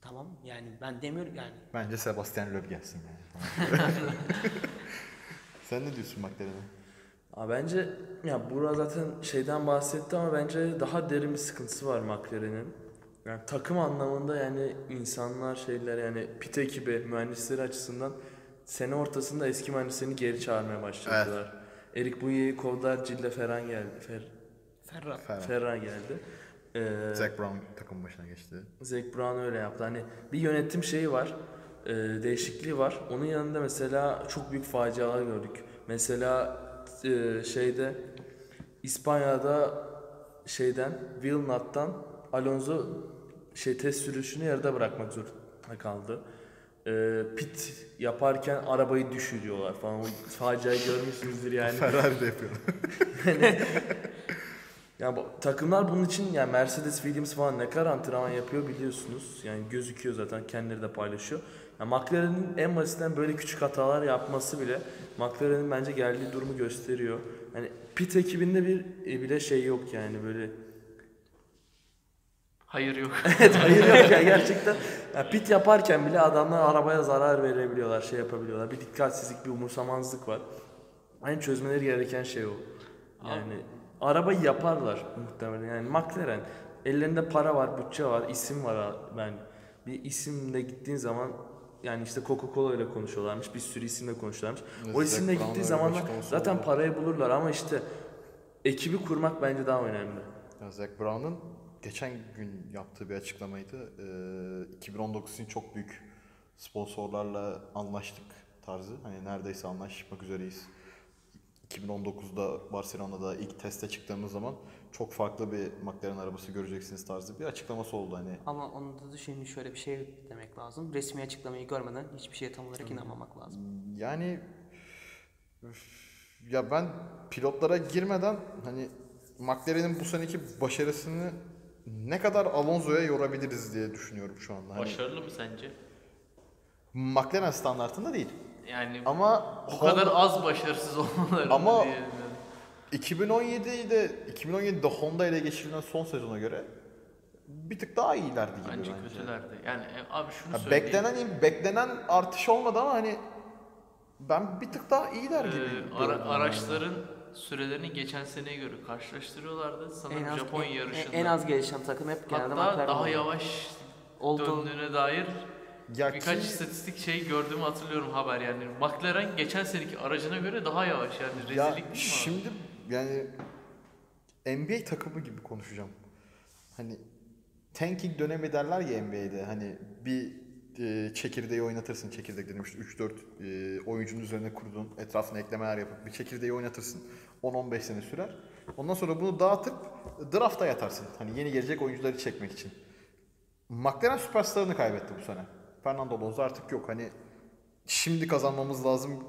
Speaker 4: Tamam yani ben demiyorum yani
Speaker 1: bence Sebastian Loeb gelsin yani. <laughs> Sen ne diyorsun McLaren'e?
Speaker 2: Aa, bence ya Burak zaten şeyden bahsetti ama bence daha derin bir sıkıntısı var McLaren'in. Yani takım anlamında yani insanlar şeyler yani pit ekibi mühendisleri açısından sene ortasında eski mühendislerini geri çağırmaya başladılar. Erik Bouye'yi kovdular, Cille Ferran geldi. Fer,
Speaker 4: Ferrari.
Speaker 1: Ferrari.
Speaker 2: Ferran geldi. Ee,
Speaker 1: Zac Brown takım başına geçti.
Speaker 2: Zac Brown öyle yaptı. Hani bir yönetim şeyi var. e, değişikliği var. Onun yanında mesela çok büyük facialar gördük. Mesela e, şeyde İspanya'da şeyden Villeneuve'dan Alonso şey test sürüşünü yarıda bırakmak zorunda kaldı. E, pit yaparken arabayı düşürüyorlar falan. O faciayı görmüşsünüzdür yani.
Speaker 1: Ferrari de yapıyor.
Speaker 2: Ya bu, takımlar bunun için yani Mercedes, Williams falan ne kadar antrenman yapıyor biliyorsunuz. Yani gözüküyor zaten kendileri de paylaşıyor. Ya McLaren'in en basitinden böyle küçük hatalar yapması bile McLaren'in bence geldiği durumu gösteriyor. Yani pit ekibinde bir e, bile şey yok yani böyle.
Speaker 3: Hayır yok.
Speaker 1: Hani
Speaker 2: Evet hayır yok ya gerçekten. Ya pit yaparken bile adamlar arabaya zarar verebiliyorlar, şey yapabiliyorlar. Bir dikkatsizlik, bir umursamazlık var. Yani çözmeleri gereken şey o. Yani arabayı yaparlar muhtemelen. Yani McLaren ellerinde para var, bütçe var, isim var a- ben. Bir isimle gittiğin zaman yani işte Coca-Cola ile konuşuyorlarmış. Bir sürü isimle konuşuyorlarmış.
Speaker 1: Evet,
Speaker 2: o
Speaker 1: Zac
Speaker 2: isimle
Speaker 1: Brown
Speaker 2: gittiği
Speaker 1: öyle
Speaker 2: zaman da
Speaker 1: başka olsa
Speaker 2: zaten
Speaker 1: olurdu.
Speaker 2: parayı bulurlar ama işte ekibi kurmak bence daha önemli.
Speaker 1: Ya Zac Brown'ın geçen gün yaptığı bir açıklamaydı. Ee, 2019 için çok büyük sponsorlarla anlaştık tarzı. Hani neredeyse anlaşmak üzereyiz. 2019'da Barcelona'da ilk teste çıktığımız zaman çok farklı bir McLaren arabası göreceksiniz tarzı bir açıklaması oldu hani.
Speaker 4: Ama onu da düşünün şöyle bir şey demek lazım. Resmi açıklamayı görmeden hiçbir şeye tam olarak inanmamak lazım.
Speaker 1: Yani üf, ya ben pilotlara girmeden hani McLaren'in bu seneki başarısını ne kadar Alonso'ya yorabiliriz diye düşünüyorum şu anda. Hani
Speaker 3: <laughs> Başarılı mı sence?
Speaker 1: McLaren standartında değil.
Speaker 3: Yani
Speaker 1: Ama
Speaker 3: bu kadar az başarısız olmaları
Speaker 1: Ama-
Speaker 3: diye-
Speaker 1: 2017'de 2017'de Honda ile geçirilen son sezona göre bir tık daha iyilerdi gibi
Speaker 3: bence
Speaker 1: bence.
Speaker 3: kötülerdi. Yani e, abi şunu
Speaker 1: Ya
Speaker 3: söyleyeyim.
Speaker 1: beklenen iyi- beklenen artış olmadı ama hani ben bir tık daha iyiler gibi.
Speaker 3: Ee, ara-
Speaker 1: görüyorum yani.
Speaker 3: araçların sürelerini geçen seneye göre karşılaştırıyorlardı. Sanırım Japon
Speaker 4: en-
Speaker 3: yarışında.
Speaker 4: en az gelişen takım hep genelde
Speaker 3: Hatta
Speaker 4: McLaren
Speaker 3: daha
Speaker 4: oluyor.
Speaker 3: yavaş
Speaker 4: Oldu.
Speaker 3: döndüğüne dair
Speaker 1: Ya
Speaker 3: birkaç
Speaker 1: ki-
Speaker 3: istatistik şey gördüğümü hatırlıyorum haber yani. McLaren geçen seneki aracına göre daha yavaş yani Hani rezillik
Speaker 1: ya
Speaker 3: değil mi abi?
Speaker 1: şimdi yani NBA takımı gibi konuşacağım. Hani tanking dönemi derler ya NBA'de. Hani bir e, çekirdeği oynatırsın. Çekirdek dedim işte 3-4 e, oyuncunun üzerine kurduğun etrafına eklemeler yapıp bir çekirdeği oynatırsın. 10-15 sene sürer. Ondan sonra bunu dağıtıp drafta yatarsın. Hani yeni gelecek oyuncuları çekmek için. McLaren süperstarını kaybetti bu sene. Fernando Alonso artık yok. Hani şimdi kazanmamız lazım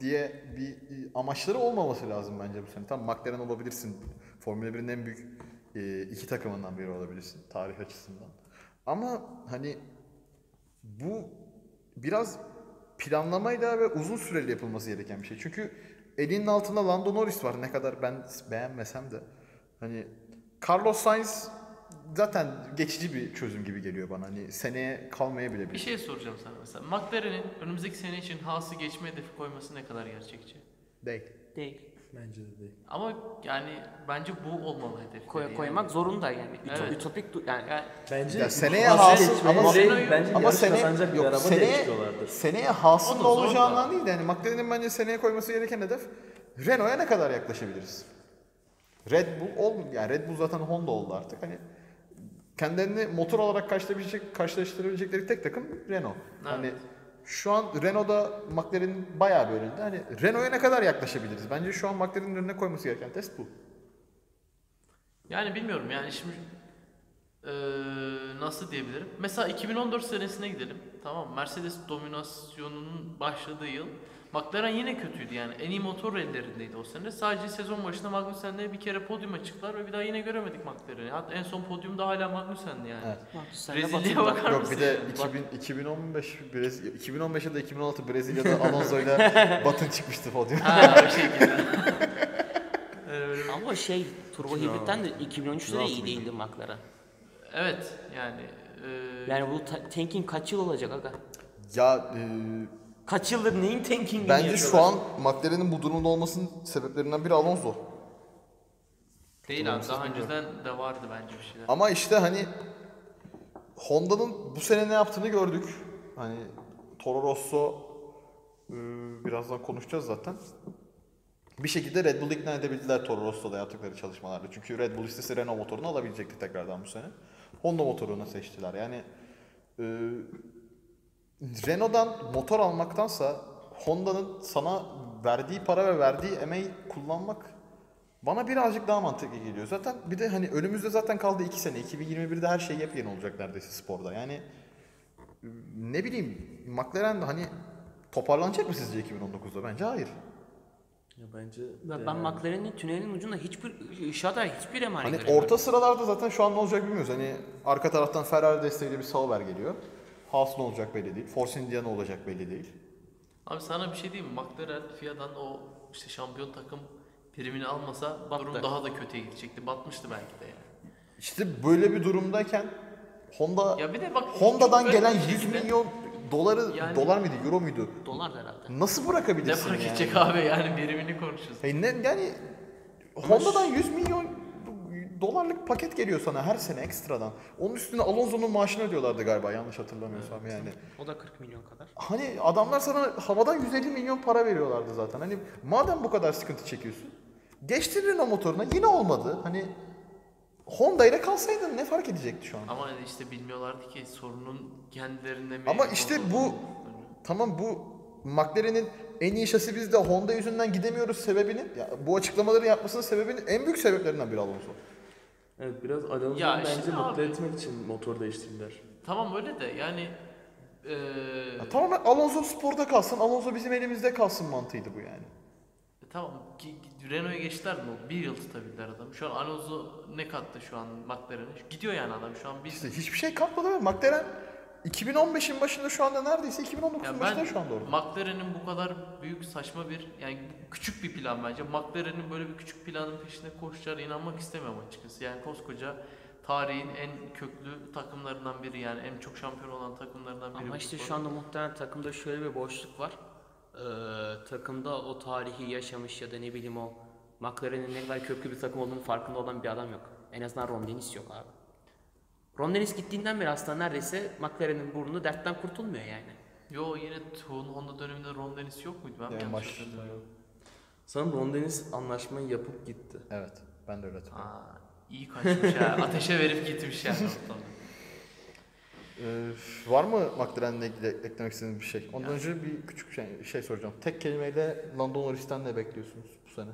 Speaker 1: diye bir e, amaçları olmaması lazım bence bu sene. Tam McLaren olabilirsin. Formula 1'in en büyük e, iki takımından biri olabilirsin tarih açısından. Ama hani bu biraz planlamayla ve uzun süreli yapılması gereken bir şey. Çünkü elinin altında Lando Norris var ne kadar ben beğenmesem de. Hani Carlos Sainz zaten geçici bir çözüm gibi geliyor bana. Hani seneye kalmayabilir.
Speaker 3: Bir şey soracağım sana mesela. McLaren'in önümüzdeki sene için Haas'ı geçme hedefi koyması ne kadar gerçekçi?
Speaker 1: Değil.
Speaker 5: Değil.
Speaker 2: Bence de değil.
Speaker 3: Ama yani bence bu olmalı hedef.
Speaker 4: Koy- koymak zorunda yani. Ütop-
Speaker 3: Evet.
Speaker 4: Ütopik du- yani
Speaker 3: Yani
Speaker 2: Bence
Speaker 1: Ya seneye
Speaker 2: Haas'ı
Speaker 1: Haas-
Speaker 2: seçmeyi-
Speaker 1: ama-
Speaker 2: Seneye- bence
Speaker 1: Ama
Speaker 2: yarış
Speaker 1: sene
Speaker 2: kazanacak bir
Speaker 1: yok
Speaker 2: araba diye
Speaker 1: seneye
Speaker 2: çıkıyorlardır.
Speaker 1: seneye Haas'ın
Speaker 3: O da
Speaker 1: ne
Speaker 3: zor
Speaker 1: olacağından
Speaker 3: da.
Speaker 1: değil de yani McLaren'in bence seneye koyması gereken hedef Renault'a ne kadar yaklaşabiliriz? Red Bull ol yani Red Bull zaten Honda oldu artık hani kendilerini motor olarak karşılaşabilecek karşılaştırabilecekleri tek takım Renault. Hani
Speaker 3: Evet.
Speaker 1: şu an Renault'da McLaren'in bayağı bir önünde. Hani Renault'a ne kadar yaklaşabiliriz? Bence şu an McLaren'in önüne koyması gereken test bu.
Speaker 3: Yani bilmiyorum yani şimdi eee, nasıl diyebilirim? Mesela 2014 senesine gidelim. Tamam mı? Mercedes dominasyonunun başladığı yıl. McLaren yine kötüydü yani. En iyi motor ellerindeydi o sene. Sadece sezon başında Magnussen'le bir kere podyuma çıktılar ve bir daha yine göremedik McLaren'i. Hatta en son podyumda hala Magnussen'di yani.
Speaker 1: Evet.
Speaker 4: Sen de
Speaker 3: Brezilya'ya
Speaker 4: batırdın.
Speaker 3: bakar
Speaker 1: Yok
Speaker 3: mısın?
Speaker 1: bir de
Speaker 3: yani? Bak-
Speaker 1: 2000, 2015 Brezilya 2015 ya da 2016
Speaker 3: <laughs>
Speaker 1: Brezilya'da Alonso'yla Batın çıkmıştı podyuma.
Speaker 3: Ha o şekilde. Öyle-
Speaker 4: Ama şey turbo hibritten de 2013'te de iyi değildi McLaren.
Speaker 3: evet yani. eee,
Speaker 4: Yani bu ta- tanking kaç yıl olacak aga?
Speaker 1: Ya e,
Speaker 4: Kaç yıldır neyin tankingini
Speaker 1: bence şu
Speaker 4: yapıyorlar?
Speaker 1: an McLaren'in bu durumda olmasının sebeplerinden biri Alonso.
Speaker 3: değil abi daha önceden de vardı bence bir şeyler.
Speaker 1: Ama işte hani Honda'nın bu sene ne yaptığını gördük. Hani Toro Rosso e, birazdan konuşacağız zaten. Bir şekilde Red Bull ikna edebildiler Toro Rosso'da yaptıkları çalışmalarda. Çünkü Red Bull istese Renault motorunu alabilecekti tekrardan bu sene. Honda motorunu seçtiler. Yani e, Renault'dan motor almaktansa Honda'nın sana verdiği para ve verdiği emeği kullanmak bana birazcık daha mantıklı geliyor. Zaten bir de hani önümüzde zaten kaldı 2 sene. 2021'de her şey yepyeni olacak neredeyse sporda. Yani e, ne bileyim McLaren de hani toparlanacak mı sizce 2019'da? Bence hayır.
Speaker 2: Ya bence
Speaker 4: Ben, ben McLaren'in tünelin ucunda hiçbir ışığa dair hiçbir emanet
Speaker 1: Hani
Speaker 4: göremiyorum.
Speaker 1: orta sıralarda zaten şu an ne olacak bilmiyoruz. Hani arka taraftan Ferrari desteğiyle bir Sauber geliyor. Haas ne olacak belli değil. Force India ne olacak belli değil.
Speaker 3: Abi sana bir şey diyeyim mi? McLaren FIA'dan o işte şampiyon takım primini almasa durum daha da kötüye gidecekti. Batmıştı belki de yani.
Speaker 1: İşte böyle bir durumdayken Honda
Speaker 3: Ya bir de bak
Speaker 1: Honda'dan
Speaker 3: çok böyle
Speaker 1: gelen
Speaker 3: bir
Speaker 1: 100
Speaker 3: şekilde
Speaker 1: milyon doları
Speaker 3: Yani-
Speaker 1: dolar mıydı, euro muydu?
Speaker 4: Dolar da herhalde.
Speaker 1: Nasıl
Speaker 3: ne
Speaker 1: bırakabilirsin
Speaker 3: fark
Speaker 1: yani?
Speaker 3: edecek abi yani birimini konuşuyoruz.
Speaker 1: Hey, E, ne, yani Honda'dan 100 milyon dolarlık paket geliyor sana her sene ekstradan. Onun üstüne Alonso'nun maaşını ödüyorlardı galiba yanlış hatırlamıyorsam yani.
Speaker 4: O da 40 milyon kadar.
Speaker 1: Hani adamlar sana havadan 150 milyon para veriyorlardı zaten. Hani madem bu kadar sıkıntı çekiyorsun. Geçtin Renault motoruna yine olmadı. Hani Honda ile kalsaydın ne fark edecekti şu an?
Speaker 3: Ama hani işte bilmiyorlardı ki sorunun kendilerine mi?
Speaker 1: Ama işte bu tamam bu McLaren'in en iyi şasi bizde Honda yüzünden gidemiyoruz sebebinin ya bu açıklamaları yapmasının sebebinin en büyük sebeplerinden biri Alonso.
Speaker 2: Evet biraz Alonso'yu
Speaker 3: Ya
Speaker 2: bence
Speaker 3: şimdi
Speaker 2: mutlu
Speaker 3: abi-
Speaker 2: etmek için motor değiştirdiler.
Speaker 3: Tamam öyle de yani eee Ee,
Speaker 1: Ya tamamen Alonso sporda kalsın, Alonso bizim elimizde kalsın mantığıydı bu yani.
Speaker 3: e, tamam ki- ki- Renault'a geçtiler mi? Bir yıl tutabildiler adam. Şu an Alonso ne kattı şu an McLaren'e? Gidiyor yani adam şu an bir
Speaker 1: İşte hiçbir şey katmadı ve McLaren 2015'in başında şu anda neredeyse 2019'un
Speaker 3: Yani
Speaker 1: başında
Speaker 3: ben
Speaker 1: şu anda orada.
Speaker 3: McLaren'in bu kadar büyük saçma bir yani bu küçük bir plan bence. McLaren'in böyle bir küçük planın peşine koşacağına inanmak istemiyorum açıkçası. Yani koskoca tarihin en köklü takımlarından biri yani en çok şampiyon olan takımlarından biri.
Speaker 4: Ama
Speaker 3: bu
Speaker 4: işte
Speaker 3: spor.
Speaker 4: şu anda muhtemelen takımda şöyle bir boşluk var. Ee, takımda o tarihi yaşamış ya da ne bileyim o McLaren'in ne kadar köklü bir takım olduğunu farkında olan bir adam yok. En azından Ron Dennis yok abi. Ron Dennis gittiğinden beri aslında neredeyse McLaren'in burnu dertten kurtulmuyor yani.
Speaker 3: Yo yine Tuğ'un Honda döneminde Ron Dennis yok muydu? Ben mi
Speaker 1: Yani
Speaker 3: yanlış
Speaker 1: baş-
Speaker 3: hatırlıyorum?
Speaker 2: Sanırım Ron Dennis anlaşmayı yapıp gitti.
Speaker 1: Evet. Ben de öyle hatırlıyorum.
Speaker 3: Aa, iyi kaçmış
Speaker 1: <laughs>
Speaker 3: ha. Ateşe verip gitmiş yani. ortadan.
Speaker 1: Ee, var mı McLaren'le ilgili eklemek istediğiniz bir şey? Ondan
Speaker 3: Ya.
Speaker 1: önce bir küçük şey, şey soracağım. Tek kelimeyle Lando Norris'ten ne bekliyorsunuz bu sene?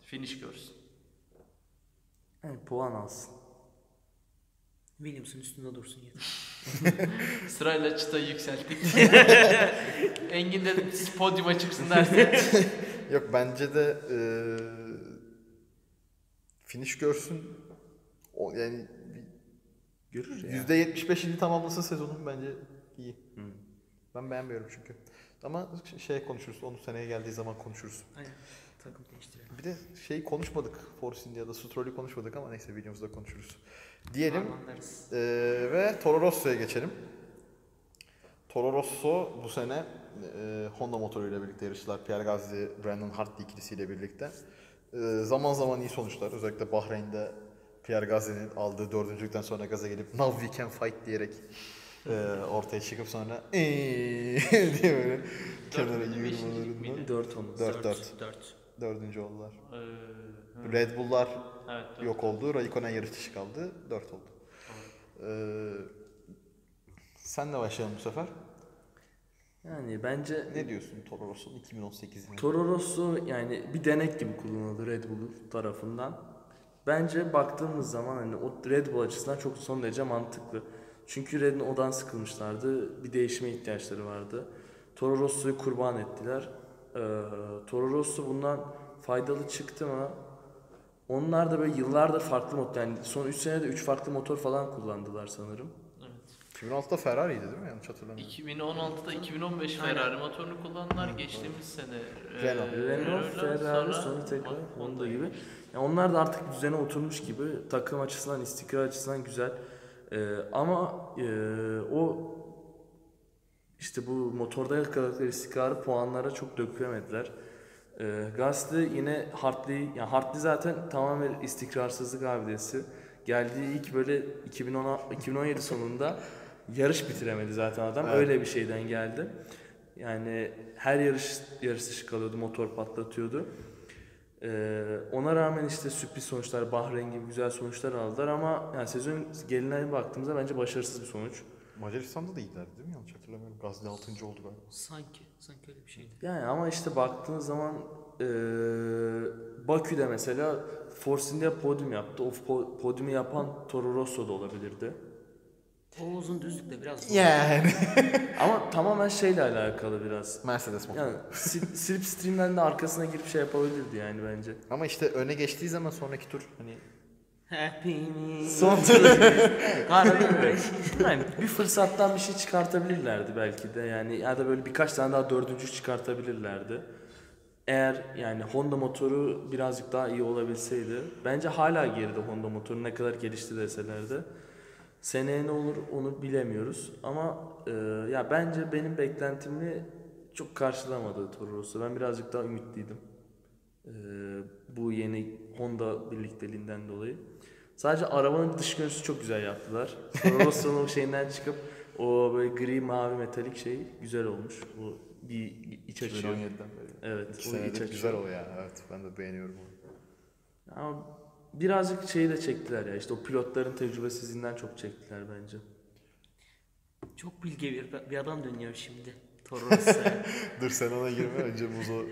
Speaker 3: Finish görsün.
Speaker 2: Yani puan alsın.
Speaker 4: Williams'ın üstünde dursun yeter.
Speaker 3: Sırayla çıtayı yükselttik. <laughs> Engin dedim siz podyuma
Speaker 1: <laughs>
Speaker 3: çıksın derse. Ee,
Speaker 1: Yok bence de e, finish görsün. O, yani
Speaker 2: Görür ya.
Speaker 1: %75'ini tamamlasın sezonun bence iyi. Ben beğenmiyorum çünkü. Ama ş- şey konuşuruz. Onu seneye geldiği zaman konuşuruz.
Speaker 4: Aynen. Takım değiştirelim.
Speaker 1: Bir de şey konuşmadık. Force India'da Stroll'ü konuşmadık ama neyse videomuzda konuşuruz. Diyelim
Speaker 4: Anlarız.
Speaker 1: Ee, ve Toro Rosso'ya geçelim. Toro Rosso bu sene e, Honda motoruyla birlikte yarıştılar. Pierre Gasly, Brandon Hartley ikilisiyle birlikte. E, zaman zaman iyi sonuçlar. Özellikle Bahreyn'de Pierre Gasly'nin aldığı dördüncülükten sonra gaza gelip now we can fight diyerek e, ortaya çıkıp sonra eee <laughs> diye böyle kenara
Speaker 3: Dördüncü, beşincilik miydi?
Speaker 1: yığılmalarından
Speaker 4: 4 olmuş.
Speaker 1: Dört, dört.
Speaker 4: 4.
Speaker 1: dördüncü oldular.
Speaker 3: Ee, hı.
Speaker 1: Red Bull'lar
Speaker 3: evet, dört.
Speaker 1: yok oldu. Raikkonen yarış dışı kaldı. 4 oldu. Ee, senle başlayalım bu sefer.
Speaker 2: Yani bence
Speaker 1: Ne diyorsun Toro Rosso'nun 2018'ini?
Speaker 2: Toro Rosso yani bir denek gibi kullanıldı Red Bull tarafından. Bence baktığımız zaman hani o Red Bull açısından çok son derece mantıklı. Çünkü Red Bull odan sıkılmışlardı. Bir değişime ihtiyaçları vardı. Toro Rosso'yu kurban ettiler. Ee, Toro Rosso bundan faydalı çıktı mı? Onlar da böyle yıllardır farklı motor yani son 3 senede 3 farklı motor falan kullandılar sanırım.
Speaker 3: Evet.
Speaker 1: 2016'da Ferrari'ydi değil mi? Yanlış hatırlamıyorum.
Speaker 3: 2016'da 2015 Ferrari motorunu kullandılar. Geçtiğimiz sene e,
Speaker 1: Renault.
Speaker 2: Renault,
Speaker 3: Renault'la
Speaker 2: Ferrari sonra tekrar Honda gibi. Yani onlar da artık düzene oturmuş gibi takım açısından, istikrar açısından güzel. Ee, ama ee, o işte bu motorda yakaladıkları istikrarı puanlara çok dökülemediler. Ee, Gasly yine Hartley, yani Hartley zaten tamamen istikrarsızlık abidesi. Geldiği ilk böyle 2010 2017 sonunda yarış bitiremedi zaten adam.
Speaker 1: Evet.
Speaker 2: Öyle bir şeyden geldi. Yani her yarış yarış dışı kalıyordu, motor patlatıyordu. Ee, ona rağmen işte sürpriz sonuçlar, Bahreyn gibi güzel sonuçlar aldılar ama yani sezon geline baktığımızda bence başarısız bir sonuç.
Speaker 1: Macaristan'da da iyilerdi değil mi? Yanlış hatırlamıyorum. Gazli 6. oldu galiba.
Speaker 4: Sanki. Sanki öyle bir şeydi.
Speaker 2: Yani ama işte baktığınız zaman eee Bakü'de mesela Force India podyum yaptı. O po- podyumu yapan Toro Rosso da olabilirdi.
Speaker 4: O uzun düzlükte biraz <laughs> zor.
Speaker 1: Yani.
Speaker 2: Ama tamamen şeyle alakalı biraz.
Speaker 1: Mercedes motoru.
Speaker 2: Yani <laughs> sil- Slipstream'den de arkasına girip şey yapabilirdi yani bence.
Speaker 1: Ama işte öne geçtiği zaman sonraki tur hani
Speaker 4: Happiness.
Speaker 2: Son
Speaker 4: Karnım
Speaker 2: yani bir fırsattan bir şey çıkartabilirlerdi belki de yani ya da böyle birkaç tane daha dördüncü çıkartabilirlerdi. Eğer yani Honda motoru birazcık daha iyi olabilseydi bence hala geride Honda motoru ne kadar gelişti deselerdi. Seneye ne olur onu bilemiyoruz ama e, ya bence benim beklentimi çok karşılamadı Toro Rosso. Ben birazcık daha ümitliydim. E, bu yeni Honda birlikteliğinden dolayı. Sadece arabanın dış görünüşü çok güzel yaptılar.
Speaker 1: <laughs>
Speaker 2: Sonra Rosso'nun o şeyinden çıkıp o böyle gri mavi metalik şey güzel olmuş. Bu bir iç açıyor.
Speaker 1: 2017'den beri.
Speaker 2: Evet.
Speaker 1: İki
Speaker 2: bu bir iç
Speaker 1: senedir
Speaker 2: açıyor.
Speaker 1: güzel o ya. Evet ben de beğeniyorum onu.
Speaker 2: Ama birazcık şeyi de çektiler ya. İşte o pilotların tecrübesizliğinden çok çektiler bence.
Speaker 4: Çok bilge bir, bir adam dönüyor şimdi. <laughs> Toros'a.
Speaker 1: Dur sen ona girme. Önce Muzo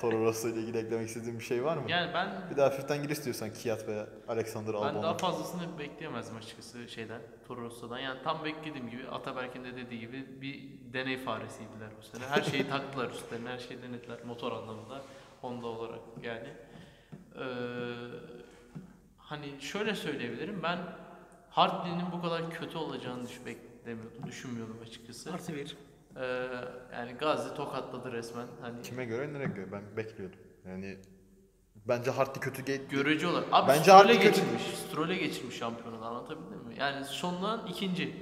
Speaker 1: Toro Rosso ile ilgili eklemek istediğin bir şey var mı?
Speaker 3: Yani ben
Speaker 1: Bir de hafiften gir istiyorsan Kiat veya Alexander
Speaker 3: ben
Speaker 1: Albon'a.
Speaker 3: daha fazlasını bekleyemezdim açıkçası şeyden, Toro Rosso'dan. Yani tam beklediğim gibi Ataberk'in de dediği gibi bir deney faresiydiler bu sene. Her
Speaker 2: <laughs>
Speaker 3: şeyi taktılar üstlerine, her şeyi denediler motor anlamında, Honda olarak yani. Ee, hani şöyle söyleyebilirim, ben Hartley'nin bu kadar kötü olacağını düş beklemiyordum, düşünmüyordum açıkçası.
Speaker 4: Artı bir.
Speaker 3: Ee, yani Gazi tokatladı resmen. Hani
Speaker 1: Kime göre nereye göre? Ben bekliyordum. Yani bence Hartley kötü ge-
Speaker 3: Görücü olarak. Abi
Speaker 1: Bence
Speaker 3: Bence Stroll'e
Speaker 1: artık kötü-
Speaker 3: geçirmiş. Stroll'e geçirmiş şampiyonunu anlatabildim mi? Yani sondan ikinci.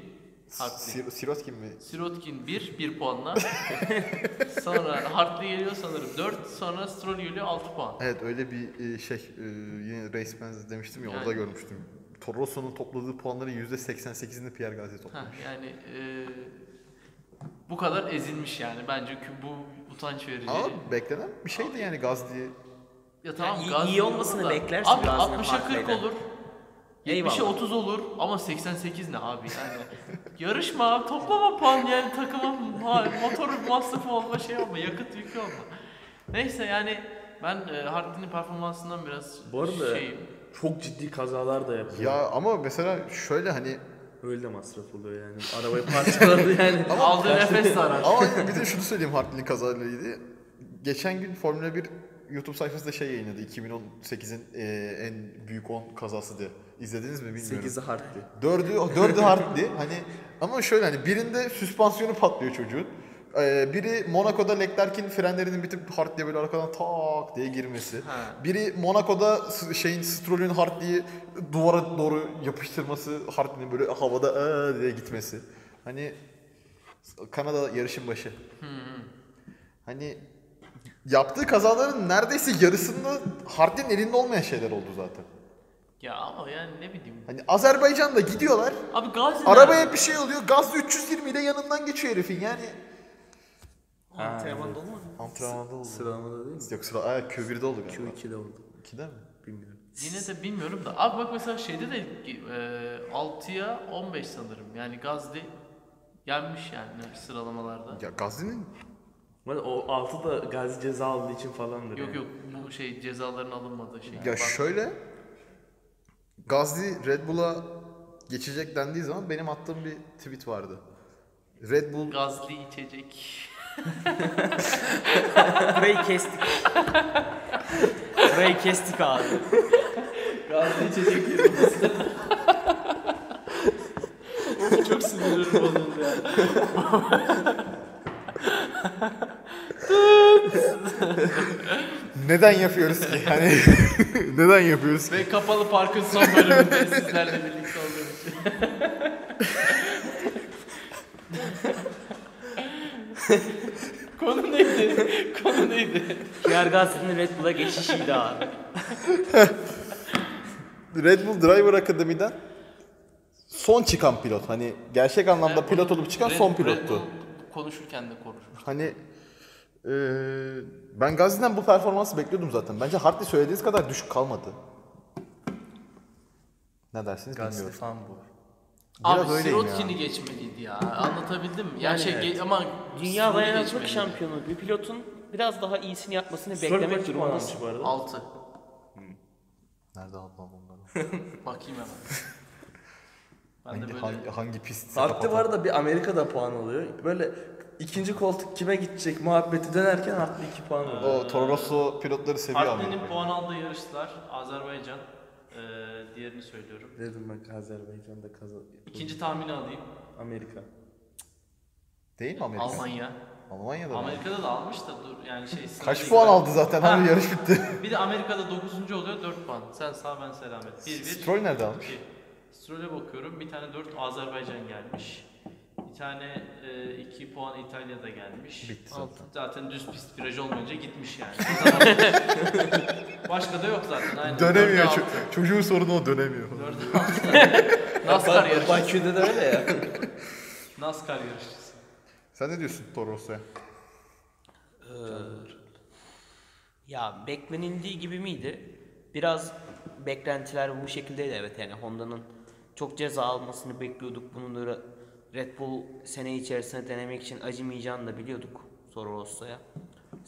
Speaker 3: Hartley.
Speaker 1: Sir- Sirotkin mi?
Speaker 3: Sirotkin 1,
Speaker 1: <laughs>
Speaker 3: 1 puanla. sonra Hartley geliyor sanırım 4, sonra Stroll geliyor 6 puan.
Speaker 1: Evet öyle bir e, şey e, yine Race Benz demiştim ya orada
Speaker 3: Yani.
Speaker 1: görmüştüm. Toro Rosso'nun topladığı puanların %88'ini Pierre Gasly topladı.
Speaker 3: Heh, yani e, bu kadar ezilmiş yani. Bence kü- bu utanç verici.
Speaker 1: Ama beklenen bir şeydi yani Gasly.
Speaker 3: Ya tamam
Speaker 4: iyi-
Speaker 3: Gazi
Speaker 4: iyi olmasını
Speaker 3: olur da-
Speaker 4: beklersin
Speaker 3: Abi
Speaker 4: Gazi'nin
Speaker 3: 60'a 40
Speaker 4: Hartley'den.
Speaker 3: olur. 70'e
Speaker 4: Eyvallah.
Speaker 3: 30 olur ama 88 ne abi yani. <laughs> Yarışma abi toplama puan yani takımın ha- motor masrafı olma şey olma yakıt yükü olma. Neyse yani ben e, Hartley'nin performansından biraz
Speaker 2: Bu arada
Speaker 3: şeyim.
Speaker 2: çok ciddi kazalar da yapıyor.
Speaker 3: <laughs>
Speaker 1: Ya ama mesela şöyle hani
Speaker 2: Öyle de masraf oluyor yani. Arabayı parçaladı yani.
Speaker 3: Aldığı nefes de arar.
Speaker 1: Ama bir de şunu söyleyeyim Hartley'in kazayla Geçen gün Formula 1 YouTube sayfasında şey yayınladı. 2018'in e, en büyük 10 kazası diye. İzlediniz mi bilmiyorum.
Speaker 2: 8'i harfli.
Speaker 1: Dördü, dördü harfli. Hani ama şöyle hani birinde süspansiyonu patlıyor çocuğun. Ee, biri Monaco'da Leclerc'in frenlerinin bitip Hartley'e böyle arkadan tak diye girmesi.
Speaker 3: Ha.
Speaker 1: Biri Monaco'da s- şeyin Stroll'ün Hartley'i duvara doğru yapıştırması, Hartley'nin böyle havada "Aa!" diye gitmesi. Hani Kanada yarışın başı. Hani yaptığı kazaların neredeyse yarısında Hartley'nin elinde olmayan şeyler oldu zaten.
Speaker 3: Ya ama yani ne bileyim.
Speaker 1: Hani Azerbaycan'da gidiyorlar.
Speaker 3: Abi Gazi nerede?
Speaker 1: Arabaya bir şey oluyor. Gaz 320 ile yanından geçiyor herifin yani.
Speaker 4: Antrenman dolu mu?
Speaker 1: Antrenmanda oldu.
Speaker 2: Sıralamada değil mi?
Speaker 1: Yok sıra aa, Q1'de oldu galiba.
Speaker 2: Q2'de oldu.
Speaker 1: 2'de mi?
Speaker 2: Bilmiyorum.
Speaker 3: Yine de bilmiyorum da. Abi bak mesela şeyde de e, 6'ya 15 sanırım. Yani Gazli yenmiş yani sıralamalarda.
Speaker 1: Ya Gazli'nin
Speaker 2: Ama o 6 da Gazi ceza aldığı için falandır.
Speaker 3: Yok
Speaker 2: yani.
Speaker 3: yok bu şey cezaların alınmadığı şey.
Speaker 1: ya
Speaker 3: Bak-
Speaker 1: şöyle Gazli Red Bull'a geçecek dendiği zaman benim attığım bir tweet vardı. Red Bull
Speaker 3: Gazli içecek.
Speaker 5: Burayı kestik. Burayı kestik abi.
Speaker 2: Gazi içecek yerimiz. Çok sinirim bozuldu ya.
Speaker 1: neden yapıyoruz ki? Hani <laughs> neden yapıyoruz ki?
Speaker 3: Ve kapalı parkın son bölümünde <laughs> sizlerle birlikte olduğumuz için. Konu neydi? Konu neydi?
Speaker 5: Pierre Gasly'nin Red Bull'a geçişiydi abi.
Speaker 1: Red Bull Driver Academy'den son çıkan pilot. Hani gerçek anlamda
Speaker 3: Red
Speaker 1: pilot
Speaker 3: Bull-
Speaker 1: olup çıkan
Speaker 3: Red-
Speaker 1: son
Speaker 3: Red
Speaker 1: pilottu.
Speaker 3: Bull konuşurken de konuşmuş.
Speaker 1: Hani eee, ben Gazi'den bu performansı bekliyordum zaten. Bence Hartley söylediğiniz kadar düşük kalmadı. Ne dersiniz
Speaker 2: Gazi
Speaker 1: bilmiyorum.
Speaker 2: fan bu.
Speaker 1: Biraz
Speaker 3: Abi
Speaker 1: öyleyim
Speaker 3: Sirotkin'i geçmeliydi ya. Anlatabildim mi? Yani, şey ge- ama
Speaker 5: Dünya
Speaker 3: Sirotkin'i
Speaker 5: dayanıklılık
Speaker 3: geçmeliydi.
Speaker 5: şampiyonu bir pilotun biraz daha iyisini yapmasını
Speaker 2: Stroll
Speaker 5: beklemek
Speaker 2: kaç puan almış
Speaker 5: durumundasın.
Speaker 2: bu arada?
Speaker 3: Altı.
Speaker 1: Nerede ablam onları? <laughs>
Speaker 3: Bakayım hemen. Ben de
Speaker 1: hangi,
Speaker 3: böyle
Speaker 1: hangi, hangi pist?
Speaker 2: Hatta var da bir Amerika'da puan alıyor. Böyle ikinci koltuk kime gidecek muhabbeti dönerken Hatta 2 puan alıyor.
Speaker 1: O Toro Rosso pilotları seviyor
Speaker 3: Hartley'nin
Speaker 1: ama.
Speaker 3: puan aldığı yarışlar Azerbaycan. Ee, diğerini söylüyorum.
Speaker 2: Dedim bak Azerbaycan'da kazan.
Speaker 3: İkinci tahmini alayım.
Speaker 2: Amerika.
Speaker 1: Değil mi Amerika?
Speaker 3: Almanya.
Speaker 1: Almanya'da mı?
Speaker 3: Amerika'da da almış da dur yani şey.
Speaker 1: Kaç
Speaker 3: sırayla
Speaker 1: puan
Speaker 3: gider.
Speaker 1: aldı zaten? Hani
Speaker 3: Ha.
Speaker 1: yarış bitti. <laughs>
Speaker 3: Bir de Amerika'da 9. oluyor 4 puan. Sen sağ ben selamet. 1 1.
Speaker 1: Stroll nerede almış?
Speaker 3: Stroll'e bakıyorum. Bir tane 4 Azerbaycan gelmiş. Bir tane 2 puan İtalya'da gelmiş.
Speaker 1: Bitti
Speaker 3: Ama
Speaker 1: zaten.
Speaker 3: Zaten düz pist viraj olmayınca
Speaker 1: <laughs>
Speaker 3: gitmiş yani. O zaman- Başka da yok zaten. Aynen.
Speaker 1: Dönemiyor.
Speaker 3: Dörde
Speaker 1: ço- çocuğun sorunu o dönemiyor.
Speaker 3: altı. Dörde altı. NASCAR yarışçısı.
Speaker 2: Bakü'de de öyle ya.
Speaker 3: <laughs> NASCAR yarışçısı.
Speaker 1: Sen ne diyorsun Toro Rosso'ya?
Speaker 4: Ee,
Speaker 5: Ya
Speaker 4: beklenildiği gibi miydi? Biraz beklentiler bu şekildeydi evet yani Honda'nın çok ceza almasını bekliyorduk. Bunun da Red Bull sene içerisinde denemek için acımayacağını da biliyorduk Soro Rosso'ya.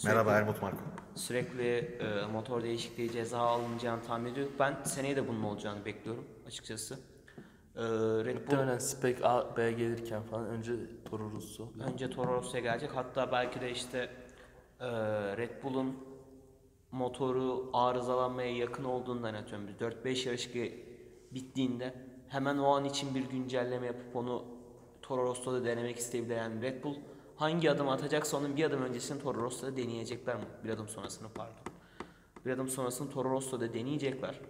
Speaker 1: Merhaba Helmut Marko.
Speaker 4: sürekli e, motor değişikliği ceza alınacağını tahmin ediyorduk. Ben seneye de bunun olacağını bekliyorum açıkçası. E, Red Bull
Speaker 2: Muhtemelen Spec A, B gelirken falan önce Toro Rosso.
Speaker 4: önce Toro Rosso'ya gelecek. Hatta belki de işte e, Red Bull'un motoru arızalanmaya yakın olduğundan atıyorum. Biz 4-5 yarış ge- bittiğinde hemen o an için bir güncelleme yapıp onu Toro Rosso'da denemek isteyebilir. Yani Red Bull hangi adım atacaksa onun bir adım öncesini Toro Rosso'da deneyecekler mi? Bir adım sonrasını pardon. Bir adım sonrasını Toro Rosso'da deneyecekler.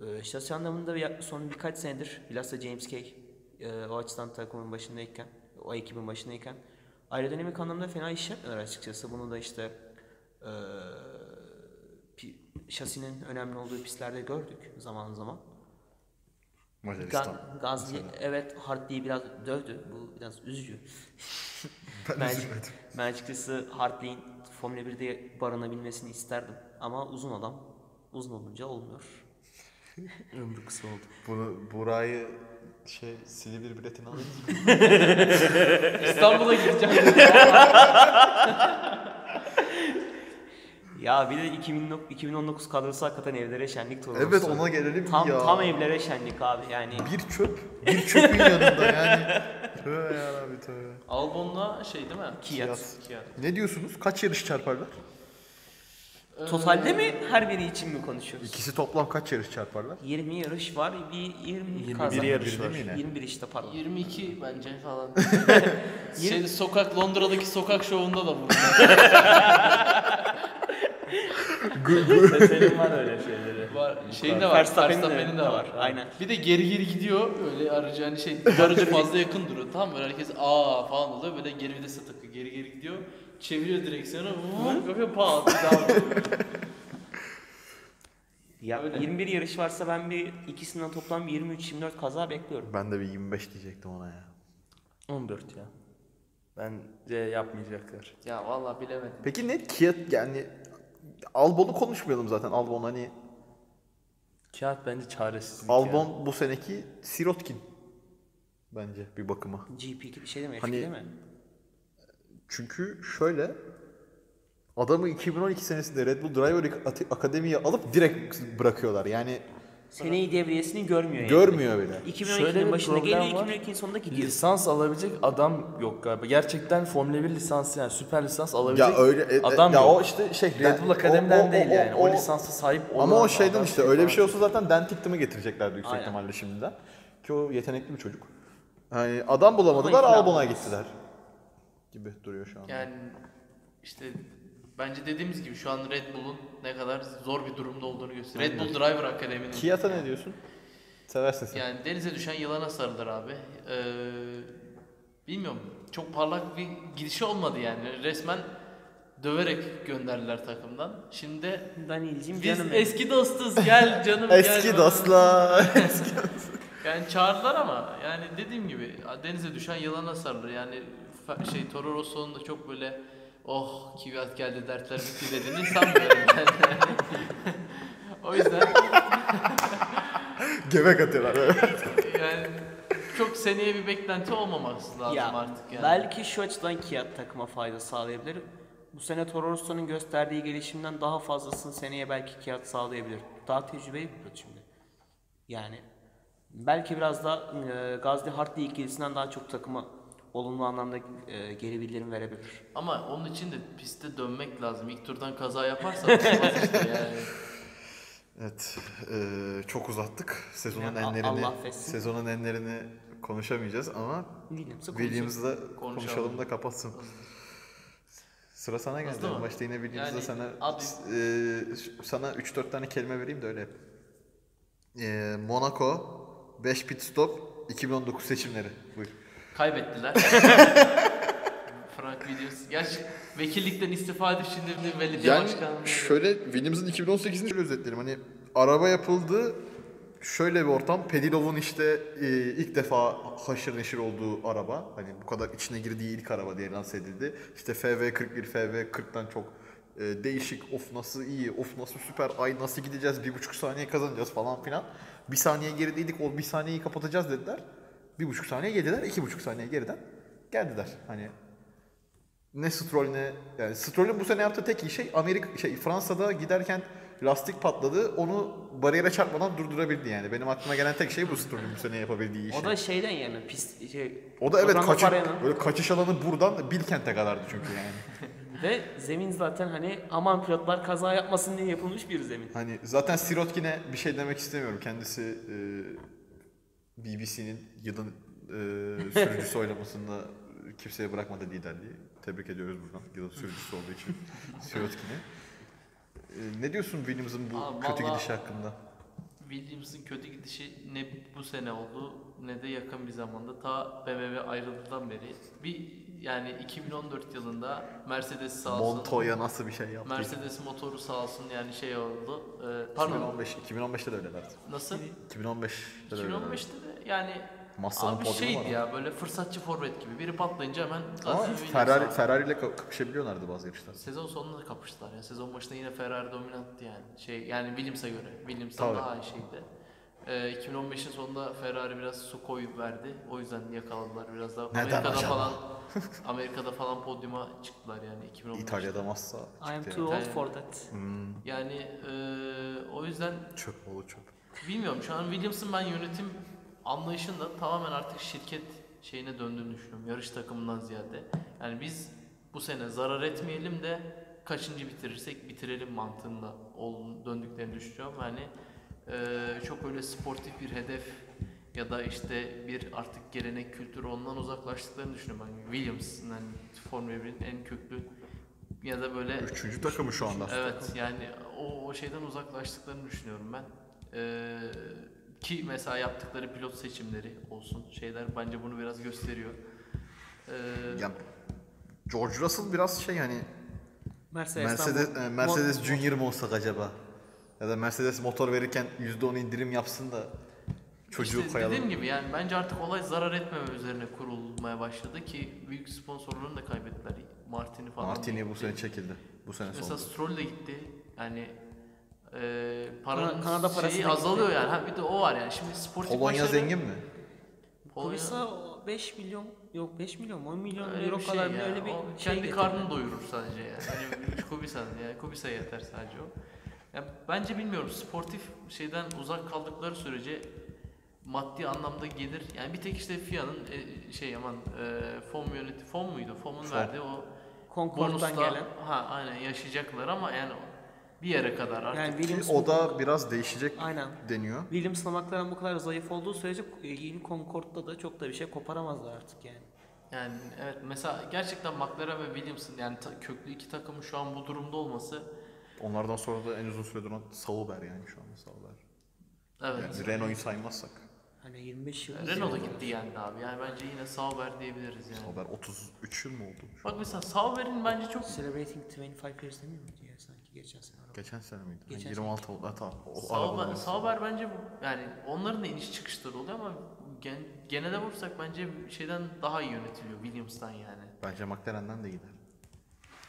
Speaker 4: Ee, şasi anlamında bir- son birkaç senedir bilhassa James Cake e, o açıdan takımın başındayken, o ekibin başındayken aerodinamik anlamda fena iş yapmıyorlar açıkçası. Bunu da işte e, pi- şasinin önemli olduğu pistlerde gördük zaman zaman.
Speaker 1: Macaristan.
Speaker 4: Ga- Gazli evet Hartley'i biraz dövdü. Bu biraz üzücü.
Speaker 1: Ben
Speaker 4: Magic-
Speaker 1: üzülmedim.
Speaker 4: Ben açıkçası Hartley'in Formula 1'de barınabilmesini isterdim. Ama uzun adam uzun olunca olmuyor.
Speaker 2: Ömrü kısa oldu.
Speaker 1: Bunu, burayı şey Silivri biletini alın.
Speaker 2: <laughs>
Speaker 3: İstanbul'a gideceğim.
Speaker 4: Ya bir de 2000 2019 kadrosu hakikaten evlere şenlik turnuvası.
Speaker 1: Evet ona gelelim
Speaker 4: tam,
Speaker 1: ya.
Speaker 4: Tam evlere şenlik abi yani.
Speaker 1: Bir çöp, bir çöpün yanında yani. Tövbe yarabbi tövbe.
Speaker 3: Albon'la şey değil mi?
Speaker 1: Kiyat.
Speaker 3: Kiyat.
Speaker 1: Ne diyorsunuz? Kaç yarış çarparlar?
Speaker 2: Ee,
Speaker 4: Totalde mi her biri için mi konuşuyoruz?
Speaker 1: İkisi toplam kaç yarış çarparlar?
Speaker 4: 20 yarış var. Bir 20
Speaker 2: 21
Speaker 4: kazan.
Speaker 2: yarış
Speaker 1: var.
Speaker 4: 21 işte pardon.
Speaker 3: 22 bence <laughs> falan. şey, sokak Londra'daki sokak şovunda da bu.
Speaker 2: Senin var öyle şeyleri.
Speaker 3: <laughs> var. Şeyin Şey de var.
Speaker 4: Verstappen'in de-
Speaker 3: Verstappen'in de
Speaker 4: de
Speaker 3: var.
Speaker 4: var, aynen.
Speaker 3: Bir de geri geri gidiyor böyle aracı hani şey aracı <laughs> fazla yakın duruyor tamam mı? Böyle Herkes aa falan oluyor böyle geri vitese takıyor geri geri gidiyor. Çeviriyor direksiyonu vup yapıyor pat bir daha vuruyor.
Speaker 4: Ya
Speaker 3: Öyle.
Speaker 4: 21 yarış varsa ben bir ikisinden toplam 23-24 kaza bekliyorum.
Speaker 1: Ben de bir 25 diyecektim ona ya.
Speaker 2: 14 ya. Bence yapmayacaklar.
Speaker 3: <laughs> Ya vallahi bilemedim.
Speaker 1: Peki ne Kia yani Albon'u konuşmayalım zaten. Albon hani
Speaker 2: Kağıt bence çaresizlik ya.
Speaker 1: Albon bu seneki Sirotkin bence bir bakıma.
Speaker 4: GP şey değil mi?
Speaker 1: Hani-
Speaker 4: F2 değil mi?
Speaker 1: Çünkü şöyle adamı 2012 senesinde Red Bull Driver Ak- Akademi'ye alıp direkt bırakıyorlar. Yani
Speaker 4: Seneyi devriyesini görmüyor
Speaker 1: görmüyor bile.
Speaker 4: yani.
Speaker 2: Şöyle
Speaker 4: 2012'nin
Speaker 2: bir
Speaker 4: başında
Speaker 2: problem
Speaker 4: geliyor,
Speaker 2: var.
Speaker 4: 2012'nin sonunda gidiyor.
Speaker 2: Lisans alabilecek adam yok galiba. Gerçekten Formula 1 lisansı yani süper lisans alabilecek
Speaker 1: Ya öyle e, e,
Speaker 2: adam
Speaker 1: ya
Speaker 2: yok.
Speaker 1: o işte şey
Speaker 2: Red Bull Akademi'den değil yani. O, lisansa sahip olan
Speaker 1: Ama o şeyden
Speaker 2: adam
Speaker 1: işte
Speaker 2: değil
Speaker 1: öyle bir
Speaker 2: falan.
Speaker 1: şey olsa zaten Dan Tictum'ı getireceklerdi yüksek
Speaker 4: Aynen.
Speaker 1: ihtimalle şimdiden. Ki o yetenekli bir çocuk. Yani adam bulamadılar Albon'a gittiler. Gibi duruyor şu anda.
Speaker 3: Yani işte bence dediğimiz gibi şu an Red Bull'un ne kadar zor bir durumda olduğunu gösteriyor. Red Bull Driver Akademi'nin.
Speaker 1: Kiyata ne diyorsun? Seversin sen.
Speaker 3: Yani denize düşen yılana sarılır abi. Ee, bilmiyorum. Çok parlak bir gidişi olmadı yani. Resmen döverek gönderdiler takımdan. Şimdi de
Speaker 4: Daniel'cim
Speaker 3: biz
Speaker 4: canım benim.
Speaker 3: eski dostuz
Speaker 4: <laughs>
Speaker 3: gel canım gel.
Speaker 1: Eski dostlar. <laughs> Eski-
Speaker 3: Yani çağırdılar ama yani dediğim gibi denize düşen yılana sarılır. Yani fa- şey Toro Rosso'nun da çok böyle oh kiviyat geldi dertler bitti
Speaker 4: <laughs>
Speaker 3: dediğini sanmıyorum ben. <laughs> o yüzden
Speaker 1: Gevek atıyorlar.
Speaker 3: yani çok seneye bir beklenti olmaması lazım
Speaker 4: Ya,
Speaker 3: artık yani.
Speaker 4: Belki şu açıdan Kiat takıma fayda sağlayabilir. Bu sene Toro Rosso'nun gösterdiği gelişimden daha fazlasını seneye belki Kiat sağlayabilir. Daha tecrübeli bir pilot şimdi. Yani belki biraz da e, Gazli Hartley ikilisinden daha çok takıma olumlu anlamda e, geri bildirim verebilir.
Speaker 3: Ama onun için de piste dönmek lazım. İlk turdan kaza yaparsan olmaz işte yani.
Speaker 1: Evet, eee, çok uzattık. Sezonun
Speaker 4: Ya, a-
Speaker 1: enlerini
Speaker 4: Allah affetsin.
Speaker 1: sezonun enlerini konuşamayacağız ama
Speaker 4: Williams'ı
Speaker 1: Williams'ı da konuşalım
Speaker 3: Konuşalım.
Speaker 1: da kapatsın. Sıra sana geldi.
Speaker 3: Hızlı mı?
Speaker 1: Başta yine Williams'da
Speaker 3: Yani
Speaker 1: sana
Speaker 3: abi-
Speaker 1: eee, ş- sana 3-4 tane kelime vereyim de öyle. yap. Eee, Monaco 5 pit stop 2019 seçimleri. Buyur. <laughs>
Speaker 3: Kaybettiler. Frank Williams. Gerçi vekillikten istifa edip şimdi bir belediye
Speaker 1: Yani
Speaker 3: başkanlığı.
Speaker 1: şöyle Williams'ın 2018'ini şöyle özetlerim. Hani araba yapıldı. Şöyle bir ortam. Pedilov'un işte e, ilk defa haşır neşir olduğu araba. Hani bu kadar içine girdiği ilk araba diye lanse edildi. İşte FV41, FV40'tan çok e, değişik. Of nasıl iyi, of nasıl süper, ay nasıl gideceğiz, bir buçuk saniye kazanacağız falan filan. Bir saniye gerideydik, o bir saniyeyi kapatacağız dediler. Bir buçuk saniye geldiler, iki buçuk saniye geriden geldiler. Hani ne Stroll ne yani Stroll'ün bu sene yaptığı tek iyi şey Amerika şey Fransa'da giderken lastik patladı. Onu bariyere çarpmadan durdurabildi yani. Benim aklıma gelen tek şey bu Stroll'ün bu sene yapabildiği iş.
Speaker 4: O da şey, şeyden yani pist şey,
Speaker 1: o da evet
Speaker 4: Orlando
Speaker 1: kaçı,
Speaker 4: Paran'ın-
Speaker 1: böyle kaçış alanı buradan Bilkent'e kadardı çünkü yani.
Speaker 4: Ve zemin zaten hani aman pilotlar kaza yapmasın diye yapılmış bir zemin.
Speaker 1: hani zaten Sirotkin'e bir şey demek istemiyorum. Kendisi e, BBC'nin yılın e, sürücüsü oylamasında kimseye bırakmadı liderliği. Tebrik ediyoruz buradan yılın sürücüsü olduğu için Sirotkin'i. E, ne diyorsun Williams'ın bu
Speaker 3: Abi
Speaker 1: kötü
Speaker 3: vallahi-
Speaker 1: gidişi hakkında?
Speaker 3: Williams'ın kötü gidişi ne bu sene oldu ne de yakın bir zamanda ta BMW ayrıldığından beri bir yani 2014 yılında Mercedes sağ olsun.
Speaker 1: Montoya nasıl bir şey yaptı?
Speaker 3: Mercedes motoru sağ olsun yani şey oldu. Ee, pardon
Speaker 1: 2015, 2015'te de öylelerdi.
Speaker 3: nasıl?
Speaker 1: 2015'te de öylelerdi.
Speaker 3: 2015'te de yani
Speaker 1: Massa'nın
Speaker 3: abi
Speaker 1: podyumu var
Speaker 3: şeydi
Speaker 1: ama.
Speaker 3: ya böyle fırsatçı forvet gibi. Biri patlayınca hemen
Speaker 1: Ama
Speaker 3: Gazi Williams
Speaker 1: Ferrari,
Speaker 3: aldı.
Speaker 1: Ferrari ile kapışabiliyorlardı bazı yarışlarda.
Speaker 3: Sezon sonunda da kapıştılar ya. Sezon başında yine Ferrari dominanttı yani. Şey yani Williams'a göre. Williams'tan
Speaker 1: Tabii.
Speaker 3: daha iyi şeydi. Ee, 2015'in sonunda Ferrari biraz su koyu verdi. O yüzden yakaladılar biraz daha.
Speaker 1: Neden
Speaker 3: Amerika'da
Speaker 1: acaba? <laughs>
Speaker 3: falan Amerika'da falan podyuma çıktılar yani 2015'te.
Speaker 1: İtalya'da massa
Speaker 5: I am
Speaker 1: çıktı.
Speaker 5: too old
Speaker 3: Yani-
Speaker 5: for that.
Speaker 1: Hmm,
Speaker 3: Yani eee, o yüzden
Speaker 1: çöp oğlu çöp.
Speaker 3: bilmiyorum şu an Williams'ın ben yönetim anlayışında tamamen artık şirket şeyine döndüğünü düşünüyorum. Yarış takımından ziyade. Yani biz bu sene zarar etmeyelim de kaçıncı bitirirsek bitirelim mantığında ol- döndüklerini düşünüyorum. Yani eee, çok öyle sportif bir hedef ya da işte bir artık gelenek kültür ondan uzaklaştıklarını düşünüyorum. Ben Williams'ın yani Formula 1'in en köklü ya da böyle
Speaker 1: Üçüncü takımı şu anda.
Speaker 3: Evet yani o, o şeyden uzaklaştıklarını düşünüyorum ben. Ee, ki mesela yaptıkları pilot seçimleri olsun şeyler bence bunu biraz gösteriyor. Ee,
Speaker 1: Ya, George Russell biraz şey hani
Speaker 3: Şey,
Speaker 5: Mercedes'ten
Speaker 1: Mercedes, e, Mercedes Junior mu olsak acaba? Ya da Mercedes motor verirken %10 indirim yapsın da çocuğu
Speaker 3: işte
Speaker 1: koyalım.
Speaker 3: Dediğim gibi yani bence artık olay zarar etmeme üzerine kurulmaya başladı ki büyük sponsorlarını da kaybettiler. Martini falan.
Speaker 1: Martini bu
Speaker 3: gitti.
Speaker 1: sene çekildi. Bu sene
Speaker 3: Mesela
Speaker 1: sonunda.
Speaker 3: Stroll de gitti. Yani e, paranın
Speaker 5: Kanada parası
Speaker 3: şeyi
Speaker 5: da gitti.
Speaker 3: azalıyor yani. Ha, bir de o var yani. Şimdi sportif
Speaker 1: Polonya
Speaker 3: başarı-
Speaker 1: zengin mi?
Speaker 3: Polonya-
Speaker 5: Oysa 5 milyon yok 5 milyon 10 milyon
Speaker 3: Öyle
Speaker 5: euro
Speaker 3: bir şey
Speaker 5: kadar
Speaker 3: ya.
Speaker 5: öyle bir
Speaker 3: O
Speaker 5: şey
Speaker 3: kendi
Speaker 5: getirdi.
Speaker 3: karnını doyurur sadece yani. Hani Kubisa yani Kubisa yeter sadece o. Ya bence bilmiyorum sportif şeyden uzak kaldıkları sürece maddi anlamda gelir. Yani bir tek işte FIA'nın e, şey aman e, FOM yöneti FOM muydu? FOM'un
Speaker 1: Fon.
Speaker 3: verdiği o
Speaker 5: Concord'dan
Speaker 3: bonusla
Speaker 5: gelen.
Speaker 3: ha aynen yaşayacaklar ama yani bir yere kadar artık.
Speaker 5: Yani Williams
Speaker 1: O da biraz değişecek
Speaker 5: Aynen.
Speaker 1: deniyor.
Speaker 5: Williams'la McLaren bu kadar zayıf olduğu sürece e, yeni Concord'da da çok da bir şey koparamazlar artık yani.
Speaker 3: Yani evet mesela gerçekten McLaren ve Williams'ın yani ta- köklü iki takımın şu an bu durumda olması
Speaker 1: Onlardan sonra da en uzun süre duran Sauber yani şu anda Sauber.
Speaker 3: evet.
Speaker 1: Yani Renault'u saymazsak.
Speaker 5: Hani 25 yıl.
Speaker 3: Renault da gitti yani abi. Yani bence yine Sauber diyebiliriz yani.
Speaker 1: Sauber 33 yıl mı oldu?
Speaker 3: Bak mesela Sauber'in bence çok
Speaker 5: Celebrating 25 years demiyor muydu ya sanki geçen sene?
Speaker 1: Geçen sene miydi? Ha,
Speaker 5: Geçen
Speaker 1: 26 oldu. Ha, tamam. O
Speaker 3: Sauber,
Speaker 1: arabanın-
Speaker 3: Sauber bence bu- yani onların da iniş çıkışları oluyor ama gen, genele vursak bence şeyden daha iyi yönetiliyor Williams'tan yani.
Speaker 1: Bence McLaren'den de gider.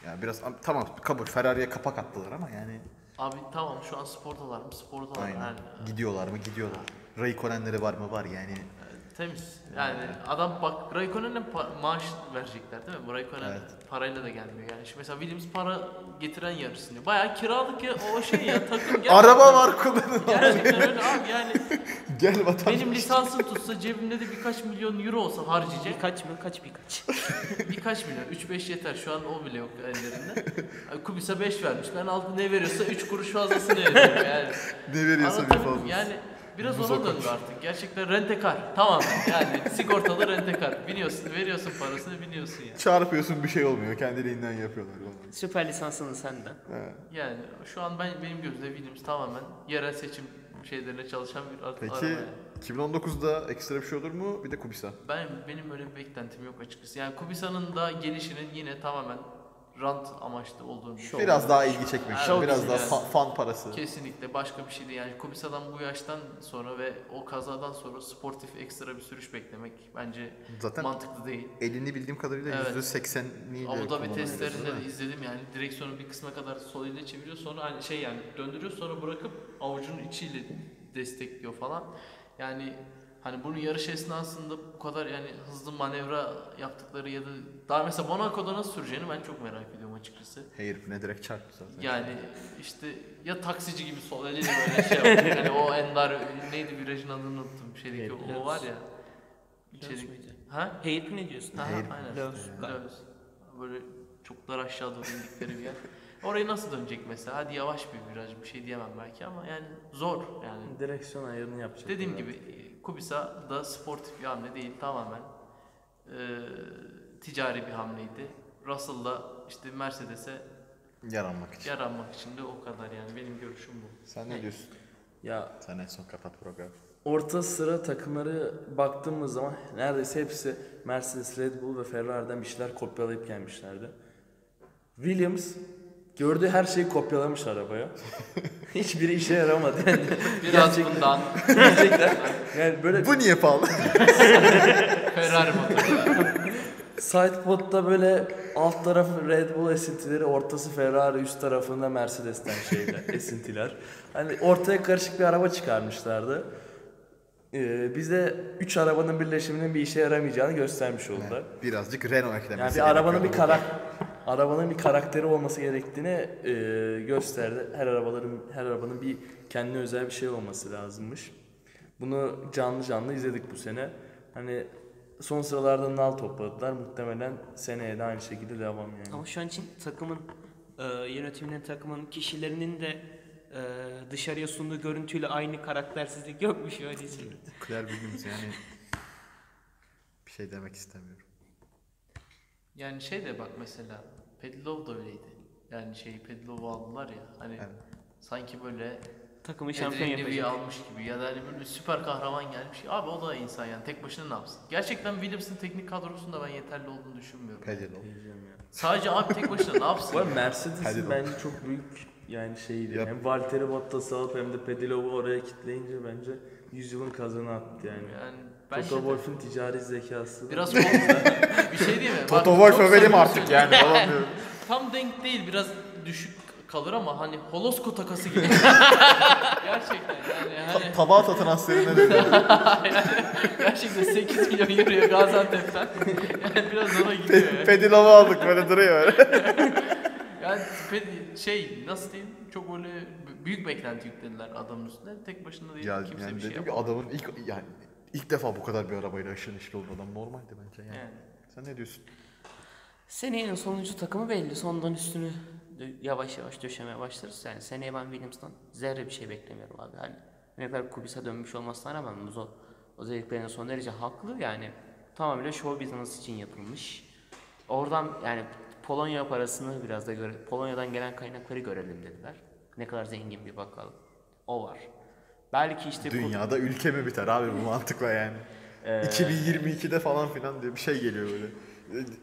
Speaker 1: Yani biraz am- tamam kabul Ferrari'ye kapak attılar ama yani
Speaker 3: Abi tamam şu an spordalar mı? Spordalar
Speaker 1: aynen.
Speaker 3: yani.
Speaker 1: Gidiyorlar mı? Gidiyorlar. Raikkonen'leri var mı? Var yani.
Speaker 3: e, Temiz. Yani adam bak Raikkonen'e pa- maaş verecekler değil mi? Bu Raikkonen parayla da gelmiyor yani. Şimdi mesela Williams para getiren yarışını. Bayağı kiralık ya o şey ya
Speaker 1: <laughs>
Speaker 3: takım gerçekten-
Speaker 1: Araba var kullanın. <laughs>
Speaker 3: Gerçekten öyle abi yani
Speaker 1: Gel vatan.
Speaker 3: benim lisansım tutsa cebimde de birkaç milyon euro olsa harcayacak.
Speaker 5: Birkaç mı? Kaç
Speaker 3: <laughs>
Speaker 5: birkaç?
Speaker 3: Birkaç milyon. 3-5 yeter. Şu an o bile yok ellerinde. Ay, Kubis'e 5 vermiş. Ben altı ne veriyorsa 3 kuruş fazlasını veriyorum yani.
Speaker 1: Ne veriyorsa bir
Speaker 3: Anlatabildim
Speaker 1: fazla.
Speaker 3: mi? Yani biraz
Speaker 1: Buza
Speaker 3: ona döndü
Speaker 1: konuş.
Speaker 3: artık. Gerçekten rentekar. Tamam yani sigortalı rentekar. Biniyorsun, veriyorsun parasını, biniyorsun yani.
Speaker 1: Çarpıyorsun bir şey olmuyor. Kendiliğinden yapıyorlar bunu.
Speaker 5: Süper lisansını senden.
Speaker 3: Yani şu an ben benim gözümde Williams tamamen yerel seçim şeylerine çalışan bir ar- araba.
Speaker 1: Peki
Speaker 3: yani.
Speaker 1: 2019'da ekstra bir şey olur mu? Bir de Kubisa.
Speaker 3: Ben benim öyle bir beklentim yok açıkçası. Yani Kubisa'nın da gelişinin yine tamamen rant amaçlı olduğunu düşünüyorum.
Speaker 1: Biraz daha ilgi çekmek
Speaker 3: Evet,
Speaker 1: için. Biraz
Speaker 3: biz
Speaker 1: daha
Speaker 3: biraz-
Speaker 1: fa- fan parası.
Speaker 3: Kesinlikle başka bir şey değil. Yani Kubisa'dan bu yaştan sonra ve o kazadan sonra sportif ekstra bir sürüş beklemek bence
Speaker 1: Zaten
Speaker 3: mantıklı değil.
Speaker 1: elini bildiğim kadarıyla
Speaker 3: Evet.
Speaker 1: %80'liyle
Speaker 3: Abu Dhabi
Speaker 1: kullanabiliyorsun,
Speaker 3: testlerinde
Speaker 1: değil
Speaker 3: de
Speaker 1: mi?
Speaker 3: izledim yani direksiyonu bir kısma kadar sol ile çeviriyor sonra hani şey yani döndürüyor sonra bırakıp avucunun içiyle destekliyor falan. Yani hani bunu yarış esnasında bu kadar yani hızlı manevra yaptıkları ya da daha mesela Monaco'da nasıl süreceğini ben çok merak ediyorum açıkçası.
Speaker 1: Herifine direkt çarptı zaten.
Speaker 3: Yani işte ya taksici gibi sol eliyle böyle şey yapıyor. Yani o Endar neydi virajın adını unuttum. Şeydeki o var ya.
Speaker 5: Löws
Speaker 3: İçerik.
Speaker 5: müydü?
Speaker 3: Ha?
Speaker 5: Heyet mi ne diyorsun?
Speaker 3: Ha,
Speaker 1: Hayır,
Speaker 3: aynen.
Speaker 5: Löws.
Speaker 3: Löws. Böyle çok dar aşağı doğru indikleri bir yer. Orayı nasıl dönecek mesela? Hadi yavaş bir viraj bir şey diyemem belki ama yani zor yani.
Speaker 2: Direksiyon ayarını yapacak.
Speaker 3: Dediğim
Speaker 2: yani.
Speaker 3: gibi e, Kubisa da sportif bir hamle değil tamamen e, ticari bir hamleydi. Russell'la işte Mercedes'e
Speaker 1: Yaranmak için.
Speaker 3: yaranmak için de o kadar yani benim görüşüm bu.
Speaker 1: Sen ne diyorsun?
Speaker 2: Ya
Speaker 1: Sen en son kapat programı.
Speaker 2: orta sıra takımları baktığımız zaman neredeyse hepsi Mercedes, Red Bull ve Ferrari'den bir şeyler kopyalayıp gelmişlerdi. Williams gördüğü her şeyi kopyalamış arabaya. Hiçbiri işe yaramadı. Yani
Speaker 3: Biraz
Speaker 2: Gerçekten.
Speaker 3: bundan
Speaker 2: diyecekler. Yani böyle
Speaker 1: Bu niye pahalı? <laughs>
Speaker 3: Ferrari motoru.
Speaker 2: Side pod'da böyle alt tarafı Red Bull esintileri, ortası Ferrari, üst tarafında Mercedes'ten şeyler, esintiler. Hani ortaya karışık bir araba çıkarmışlardı. e, bize 3 arabanın birleşiminin bir işe yaramayacağını göstermiş oldular.
Speaker 1: Birazcık Renault eklemesi
Speaker 2: Yani bir
Speaker 1: gerekiyor
Speaker 2: arabanın bir
Speaker 1: burada.
Speaker 2: karak arabanın bir karakteri olması gerektiğini e, gösterdi. Her arabaların her arabanın bir kendine özel bir şey olması lazımmış. Bunu canlı canlı izledik bu sene. Hani son sıralarda nal topladılar. Muhtemelen seneye de aynı şekilde devam yani.
Speaker 4: Ama şu an için takımın e, yönetiminin takımın kişilerinin de e, dışarıya sunduğu görüntüyle aynı karaktersizlik yokmuş öyle değil.
Speaker 1: Nükleer bilgimiz yani bir şey demek istemiyorum.
Speaker 3: Yani şey de bak mesela Pedlov da öyleydi. Yani şey Pedlov'u aldılar ya hani
Speaker 1: Evet.
Speaker 3: sanki böyle
Speaker 4: Takımı şampiyon
Speaker 3: Edwin Levy'yi
Speaker 4: yapacak.
Speaker 3: almış gibi ya da hani böyle bir süper kahraman gelmiş. Abi o da insan yani tek başına ne yapsın? Gerçekten Williams'ın teknik kadrosunda ben yeterli olduğunu düşünmüyorum.
Speaker 1: Pedro.
Speaker 3: Sadece abi tek başına ne yapsın?
Speaker 2: Bu arada
Speaker 3: ya?
Speaker 1: Hadi
Speaker 2: Mercedes'in
Speaker 1: bak.
Speaker 2: bence çok büyük yani şeydi.
Speaker 1: Yap.
Speaker 2: Hem Valtteri Bottas'ı alıp hem de Pedilov'u oraya kitleyince bence yüzyılın kazanı attı yani.
Speaker 3: Yani
Speaker 2: Toto
Speaker 3: bence de
Speaker 2: Wolff'un ticari zekası.
Speaker 3: biraz korkunç. bir
Speaker 1: <laughs>
Speaker 3: şey değil mi? Bak,
Speaker 1: Toto
Speaker 3: çok
Speaker 1: Wolff övelim
Speaker 3: samimi
Speaker 1: artık
Speaker 3: söylüyorum.
Speaker 1: yani
Speaker 3: <laughs>
Speaker 1: olamıyorum.
Speaker 3: Tam denk değil biraz düşük kalır ama hani Holosko
Speaker 1: <laughs>
Speaker 3: takası gibi. Gerçekten yani hani
Speaker 1: Tabağa <laughs> ta transferine
Speaker 2: <laughs>
Speaker 1: dönüyor.
Speaker 3: gerçekten 8 milyon euroya Gaziantep'ten. Yani biraz ona gidiyor ya.
Speaker 1: Pedilov'u aldık böyle duruyor öyle.
Speaker 3: Yani pe- şey nasıl diyeyim çok böyle b- büyük beklenti yüklediler adamın üstüne. Tek başına
Speaker 1: <laughs>
Speaker 3: değil
Speaker 1: Ya
Speaker 3: kimse
Speaker 1: yani
Speaker 3: bir şey
Speaker 1: dedim ki
Speaker 3: yapamaz.
Speaker 1: adamın ilk yani ilk defa bu kadar bir arabayla aşırı neşir oldu adam normaldi bence yani.
Speaker 3: Yani.
Speaker 1: Sen ne diyorsun?
Speaker 4: Senenin sonuncu takımı belli. Sondan üstünü dö- yavaş yavaş döşemeye başlarız. Yani seneye ben Williams'tan zerre bir şey beklemiyorum abi. Hani ne kadar Kubis'e dönmüş olmasına rağmen Muzo özelliklerine son derece haklı. Yani tamamıyla show business için yapılmış. Oradan yani Polonya parasını biraz da göre Polonya'dan gelen kaynakları görelim dediler. Ne kadar zengin bir bakalım. O var. Belki işte Kubi-
Speaker 1: Dünyada ülke mi biter abi bu mantıkla yani.
Speaker 2: Ee.
Speaker 1: 2022'de falan filan diye bir şey geliyor böyle.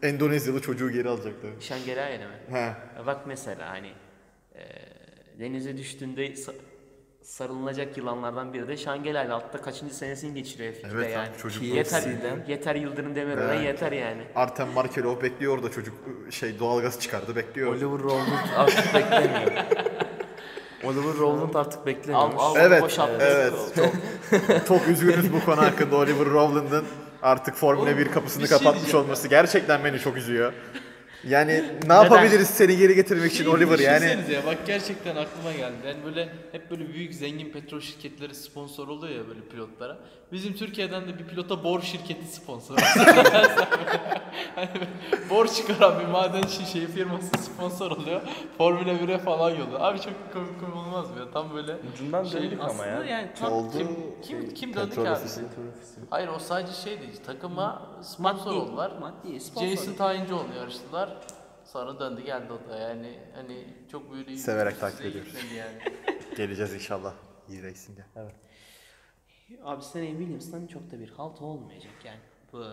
Speaker 1: Endonezyalı çocuğu geri alacaklar.
Speaker 4: Şangelaye'de mi?
Speaker 1: He.
Speaker 4: Ya Bak mesela hani eee, denize düştüğünde sa- sarılınacak yılanlardan biri de Şangelay'la altta kaçıncı senesini geçiriyor F2'de
Speaker 1: Evet abi,
Speaker 4: yani.
Speaker 1: çocuk
Speaker 4: yeter,
Speaker 2: PFC'den.
Speaker 4: yeter Yıldırım Demirören
Speaker 1: Evet.
Speaker 4: yeter yani.
Speaker 1: Artem Markelov bekliyor orada çocuk şey doğalgaz çıkardı bekliyor.
Speaker 2: Oliver Rowland artık beklemiyor.
Speaker 1: <laughs>
Speaker 2: Oliver Rowland artık
Speaker 4: Al,
Speaker 2: beklemiyor.
Speaker 4: al
Speaker 1: Evet,
Speaker 4: boşalt.
Speaker 1: evet. Çok, çok üzgünüz bu konu hakkında Oliver Rowland'ın artık Formula
Speaker 3: Oğlum,
Speaker 1: 1 kapısını
Speaker 3: bir şey
Speaker 1: kapatmış
Speaker 3: diyeceğim
Speaker 1: olması gerçekten beni çok üzüyor. Yani ne yapabiliriz seni geri getirmek için
Speaker 3: Şeyi
Speaker 1: Oliver yani?
Speaker 3: düşünsenize ya bak gerçekten aklıma geldi. Yani böyle hep böyle büyük zengin petrol şirketleri sponsor oluyor ya böyle pilotlara. Bizim Türkiye'den de bir pilota bor şirketi sponsor. <laughs> hani böyle bor çıkaran bir maden şişeyi firması sponsor oluyor. Formula 1'e falan yolu. Abi çok komik komik olmaz mı ya? Tam böyle
Speaker 2: Ucundan
Speaker 5: Şey,
Speaker 2: döndük ama
Speaker 3: aslında
Speaker 2: ya.
Speaker 3: yani tam
Speaker 1: Oldu.
Speaker 3: kim kim kim döndü
Speaker 1: şey, Petrol
Speaker 3: ki abi?
Speaker 1: ofisi.
Speaker 3: Hayır o sadece şey değil. Takıma sponsor oldular.
Speaker 4: Maddi sponsor.
Speaker 3: Jason Tayıncıoğlu'nu yarıştılar. Sonra döndü geldi o da yani hani çok böyle iyi-
Speaker 1: Severek
Speaker 3: üst
Speaker 1: takip
Speaker 3: düzey
Speaker 1: ediyoruz.
Speaker 3: gitmedi Yani. <laughs>
Speaker 1: Geleceğiz inşallah. İyi racing'e.
Speaker 4: Abi seneye Williams'tan çok da bir halt olmayacak yani. Bu,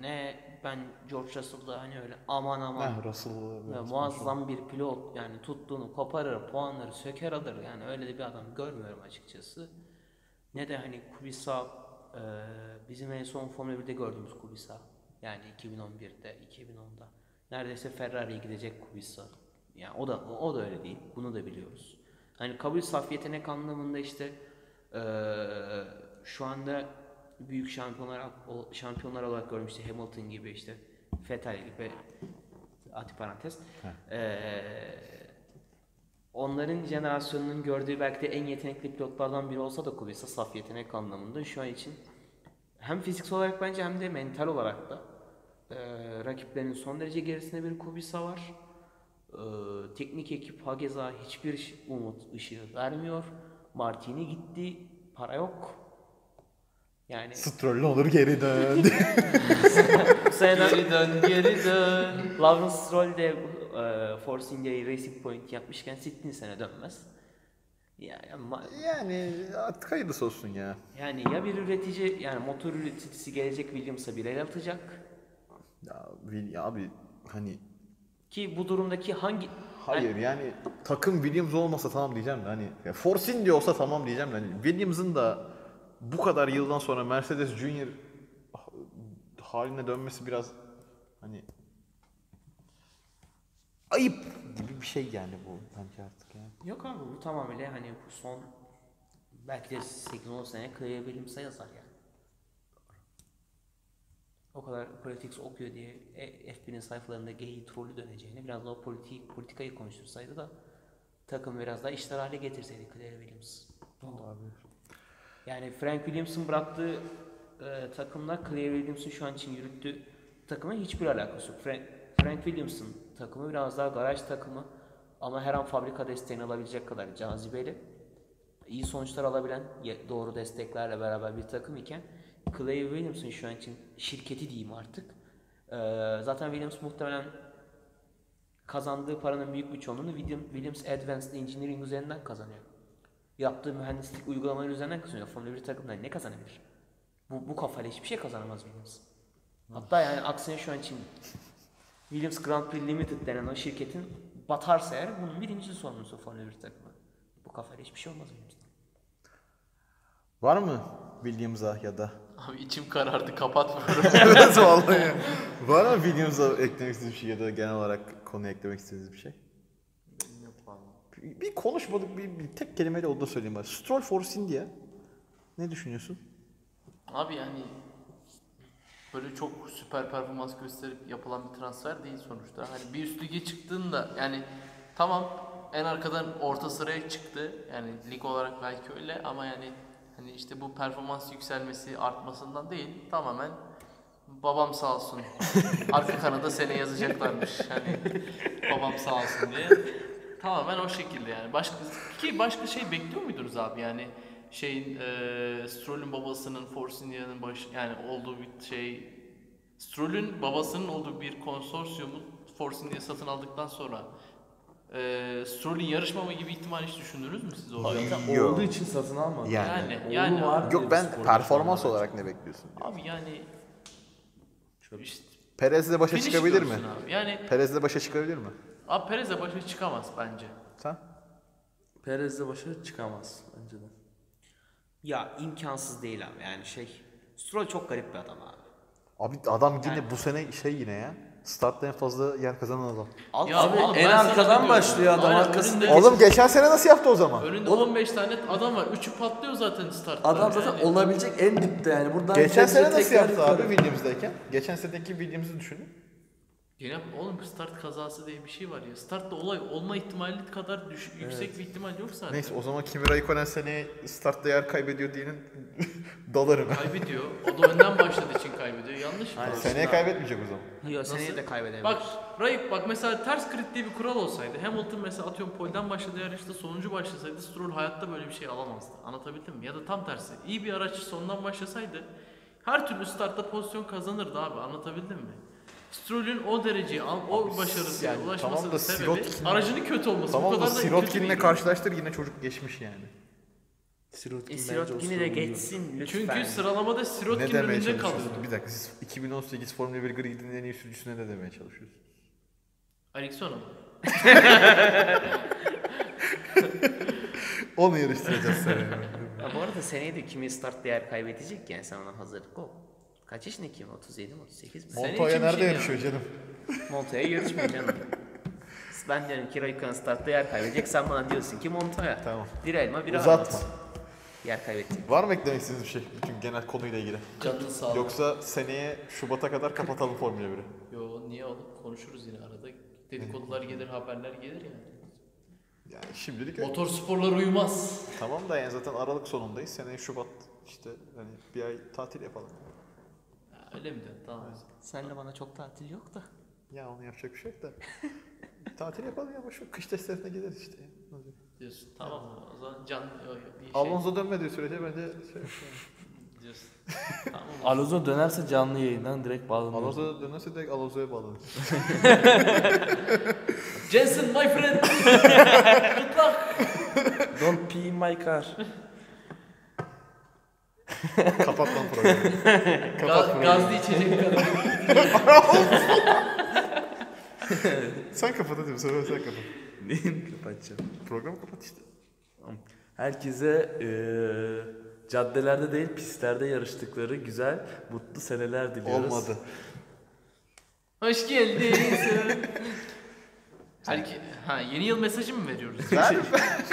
Speaker 4: ne ben George Russell'da hani öyle aman aman
Speaker 1: Ah, Russell.
Speaker 4: Ya muazzam bir pilot yani tuttuğunu koparır, puanları söker alır. Yani öyle de bir adam görmüyorum açıkçası. Ne de hani Kubica e, bizim en son Formula 1'de gördüğümüz Kubica. Yani 2011'de, 2010'da. Neredeyse Ferrari'ye gidecek Kubica. Yani o da o da öyle değil. Bunu da biliyoruz. Hani kabul saf yetenek anlamında işte e, şu anda büyük şampiyonlar o- şampiyonlar olarak görmüştü Hamilton gibi işte Vettel gibi Ati parantez. Ee, onların jenerasyonunun gördüğü belki de en yetenekli pilotlardan biri olsa da Kubica saf yetenek anlamında şu an için hem fiziksel olarak bence hem de mental olarak da ee, rakiplerinin son derece gerisinde bir Kubica var. Ee, teknik ekip Hageza hiçbir ş- umut ışığı vermiyor. Martini gitti, para yok. Yani
Speaker 1: Stroll'le olur geri dön.
Speaker 4: bu seneden
Speaker 3: geri dön geri dön.
Speaker 4: <laughs> Lawrence Stroll de e, Force India'yı Racing Point yapmışken Sittin sene dönmez. Yani, ama-
Speaker 1: yani artık hayırlısı olsun ya.
Speaker 4: yani ya bir üretici yani motor üreticisi gelecek Williams'a bir el atacak
Speaker 1: Ya, Will- ya abi hani
Speaker 4: ki bu durumdaki hangi
Speaker 1: Hayır yani takım Williams olmasa tamam diyeceğim de hani ya Force India olsa tamam diyeceğim de hani Williams'ın da bu kadar yıldan sonra Mercedes Junior haline dönmesi biraz hani ayıp gibi bir şey yani bu bence artık yani.
Speaker 4: Yok abi bu tamamıyla hani bu son belki de 8-10 sene Clay Williams'a yazar yani. o kadar politics okuyor diye e, FB'nin sayfalarında gay trolü döneceğini biraz daha politik, politikayı konuştursaydı da takım biraz daha işler hale getirseydi Claire Williams. Yani Frank Williams'ın bıraktığı e, takımla Claire Williams'ın şu an için yürüttüğü takımın hiçbir alakası yok. Frank, Frank Williams'ın takımı biraz daha garaj takımı ama her an fabrika desteğini alabilecek kadar cazibeli. iyi sonuçlar alabilen ye- doğru desteklerle beraber bir takım iken Clay Williams'ın şu an için şirketi diyeyim artık. e, zaten Williams muhtemelen kazandığı paranın büyük bir çoğunluğunu William- Williams Advanced Engineering üzerinden kazanıyor. Yaptığı mühendislik uygulamaları üzerinden kazanıyor. Formula 1 takımları ne kazanabilir? Bu, bu kafayla hiçbir şey kazanamaz Williams. Hatta yani aksine şu an için Williams Grand Prix Limited denen o şirketin batarsa eğer bunun birinci sorumlusu Formula 1 takımı. Bu kafayla hiçbir şey olmaz Williams'tan.
Speaker 1: Var mı Williams'a ya da?
Speaker 3: Abi içim karardı kapatmıyorum.
Speaker 1: <laughs> evet vallahi. Var mı Williams'a eklemek istediğiniz bir şey ya da genel olarak konuya eklemek istediğiniz bir şey? Bir bir konuşmadık bir, bir tek kelimeyle onu da söyleyeyim bari. Stroll Force India. Ne düşünüyorsun?
Speaker 3: Abi yani böyle çok süper performans gösterip yapılan bir transfer değil sonuçta. Hani bir üst lige çıktığında yani tamam en arkadan orta sıraya çıktı. Yani lig olarak belki öyle ama yani hani işte bu performans yükselmesi artmasından değil tamamen babam sağ olsun. Arka kanada sene yazacaklarmış. Hani babam sağ olsun diye. Tamamen o şekilde yani. Başka ki başka şey bekliyor muydunuz abi yani? şeyin eee Stroll'ün babasının Force India'nın baş yani olduğu bir şey Stroll'ün babasının olduğu bir konsorsiyumu Force India satın aldıktan sonra eee Stroll'ün yarışmama gibi ihtimal hiç düşündünüz mü siz orada?
Speaker 1: Yok.
Speaker 2: Olduğu için satın almadı.
Speaker 1: Yani.
Speaker 3: Yani
Speaker 2: Oğlu
Speaker 3: yani
Speaker 2: var.
Speaker 3: abi,
Speaker 2: Yok,
Speaker 1: Yok ben
Speaker 2: Sportif
Speaker 1: performans
Speaker 2: olarak.
Speaker 1: olarak ne bekliyorsun?
Speaker 3: abi yani işte
Speaker 1: Perez'le başa
Speaker 3: finish
Speaker 1: çıkabilir mi?
Speaker 3: görsün Abi. Yani
Speaker 1: Perez'le başa çıkabilir mi?
Speaker 3: abi Perez de başa çıkamaz bence.
Speaker 1: Sen?
Speaker 2: Perez'le başa çıkamaz bence de.
Speaker 4: Ya imkansız değil abi yani şey. Stroll çok garip bir adam abi.
Speaker 1: Abi adam yine bu sene şey yine ya. Startta en fazla yer kazanan adam.
Speaker 4: Al,
Speaker 3: Ya
Speaker 4: al-
Speaker 2: en
Speaker 3: oğlum, ben sana
Speaker 2: arkadan
Speaker 3: diyorum.
Speaker 2: başlıyor adam,
Speaker 3: Aynen,
Speaker 2: arkasında
Speaker 3: önünde-
Speaker 1: Oğlum geçen sene nasıl yaptı o zaman?
Speaker 3: Önünde 15 tane adam var. Üçü patlıyor zaten startta.
Speaker 2: Adam zaten
Speaker 3: Yani-
Speaker 2: olabilecek en dipte yani. Buradan
Speaker 1: Geçen
Speaker 2: kendisi
Speaker 1: sene nasıl
Speaker 2: tekrar
Speaker 1: yaptı
Speaker 2: yukarı-
Speaker 1: abi Williams'dayken? Geçen seneki Williams'ı düşünün.
Speaker 3: Yine oğlum bu start kazası diye bir şey var ya. Startta olay olma ihtimali kadar düş- yüksek bir ihtimal yok zaten.
Speaker 1: Neyse o zaman Kimi Raikkonen seneye startta yer kaybediyor diyenin <laughs> dalarım.
Speaker 3: Kaybediyor. O da önden başladığı için kaybediyor. Yanlış mı?
Speaker 1: seneye kaybetmeyecek o zaman.
Speaker 4: Yo, seneye
Speaker 3: Nasıl?
Speaker 4: de kaybedebilir.
Speaker 3: Bak Raip bak mesela ters grid diye bir kural olsaydı Hamilton mesela atıyorum pole'den başladı yarışta sonuncu başlasaydı Stroll hayatta böyle bir şey alamazdı. Anlatabildim mi? Ya da tam tersi. iyi bir araç sondan başlasaydı her türlü startta pozisyon kazanırdı abi. Anlatabildim mi? Stroll'ün o derece o başarısına
Speaker 1: yani
Speaker 3: ulaşmasının
Speaker 1: tamam da
Speaker 3: sebebi
Speaker 1: Sirotkin'le-
Speaker 3: aracının kötü olması.
Speaker 1: Tamam
Speaker 3: bu
Speaker 1: da
Speaker 3: kadar da kötü değil.
Speaker 1: Sirotkin'le karşılaştır yine çocuk geçmiş yani.
Speaker 2: Sirotkin
Speaker 4: E,
Speaker 2: bence
Speaker 4: Sirot yine de
Speaker 2: Oscar'ı
Speaker 4: geçsin lütfen.
Speaker 3: Çünkü sıralamada
Speaker 1: Ne
Speaker 3: Sirotkin
Speaker 1: demeye
Speaker 3: önünde
Speaker 1: çalışıyorsun?
Speaker 3: kalıyordu.
Speaker 1: Bir dakika siz 2018 Formula 1 gridinin en iyi sürücüsüne ne demeye çalışıyorsunuz?
Speaker 3: Alexson'a mı?
Speaker 1: Onu yarıştıracağız seneye.
Speaker 4: Ya bu arada seneye de kimi start değer kaybedecek yani sen ona hazırlık ol. Kaç yaşında kim? 37 mi 38 mi?
Speaker 3: Sen- Seneye
Speaker 1: Montoya
Speaker 3: için bir
Speaker 1: nerede
Speaker 3: şey
Speaker 1: yarışıyor canım?
Speaker 4: Montoya yarışmıyor canım. Ben diyorum ki Raikkonen startta yer kaybedecek. Sen bana diyorsun ki Montoya.
Speaker 1: Tamam.
Speaker 4: Bir elma bir
Speaker 1: Uzatma.
Speaker 4: armut. Yer kaybettik.
Speaker 1: Var mı eklemek istediğiniz bir şey bütün genel konuyla ilgili?
Speaker 3: Canın sağ ol.
Speaker 1: Yoksa seneye Şubat'a kadar kapatalım Formula 1'i.
Speaker 3: Yo niye oğlum konuşuruz yine arada. Dedikodular gelir, haberler gelir yani.
Speaker 1: Yani şimdilik öyle.
Speaker 3: Motor sporları uyumaz.
Speaker 1: Tamam da yani zaten Aralık sonundayız. Seneye Şubat işte hani bir ay tatil yapalım.
Speaker 3: Ha, Öyle mi diyorsun? Tamam.
Speaker 4: Senle bana çok tatil yok da.
Speaker 1: Ya onu yapacak bir şey
Speaker 3: <laughs>
Speaker 1: yok da. tatil yapalım ya şu kış testlerine gideriz işte.
Speaker 3: Şey Diyorsun. Tamam o zaman can yo, yo, bir şey
Speaker 1: Alonso dönmediği sürece bence
Speaker 3: <laughs>
Speaker 1: şey,
Speaker 3: diyorsun.
Speaker 2: uyuyordu. Alonso dönerse canlı yayından direkt bağlanıyor.
Speaker 1: Alonso dönerse direkt Alonso'ya bağlanır.
Speaker 3: Jensen my friend. Good luck.
Speaker 2: Don't pee in my car.
Speaker 1: Kapat lan programı.
Speaker 3: Ga- gazlı içecek kadar.
Speaker 1: sen kapat hadi bu sefer sen kapat.
Speaker 2: Neyini kapatacağım?
Speaker 1: Programı kapat işte.
Speaker 2: Herkese eee, caddelerde değil pistlerde yarıştıkları güzel,
Speaker 1: <laughs>
Speaker 2: mutlu seneler diliyoruz.
Speaker 1: Olmadı.
Speaker 3: Hoş geldin. Her iki, ha, yeni yıl mesajı mı veriyoruz?
Speaker 1: Ver.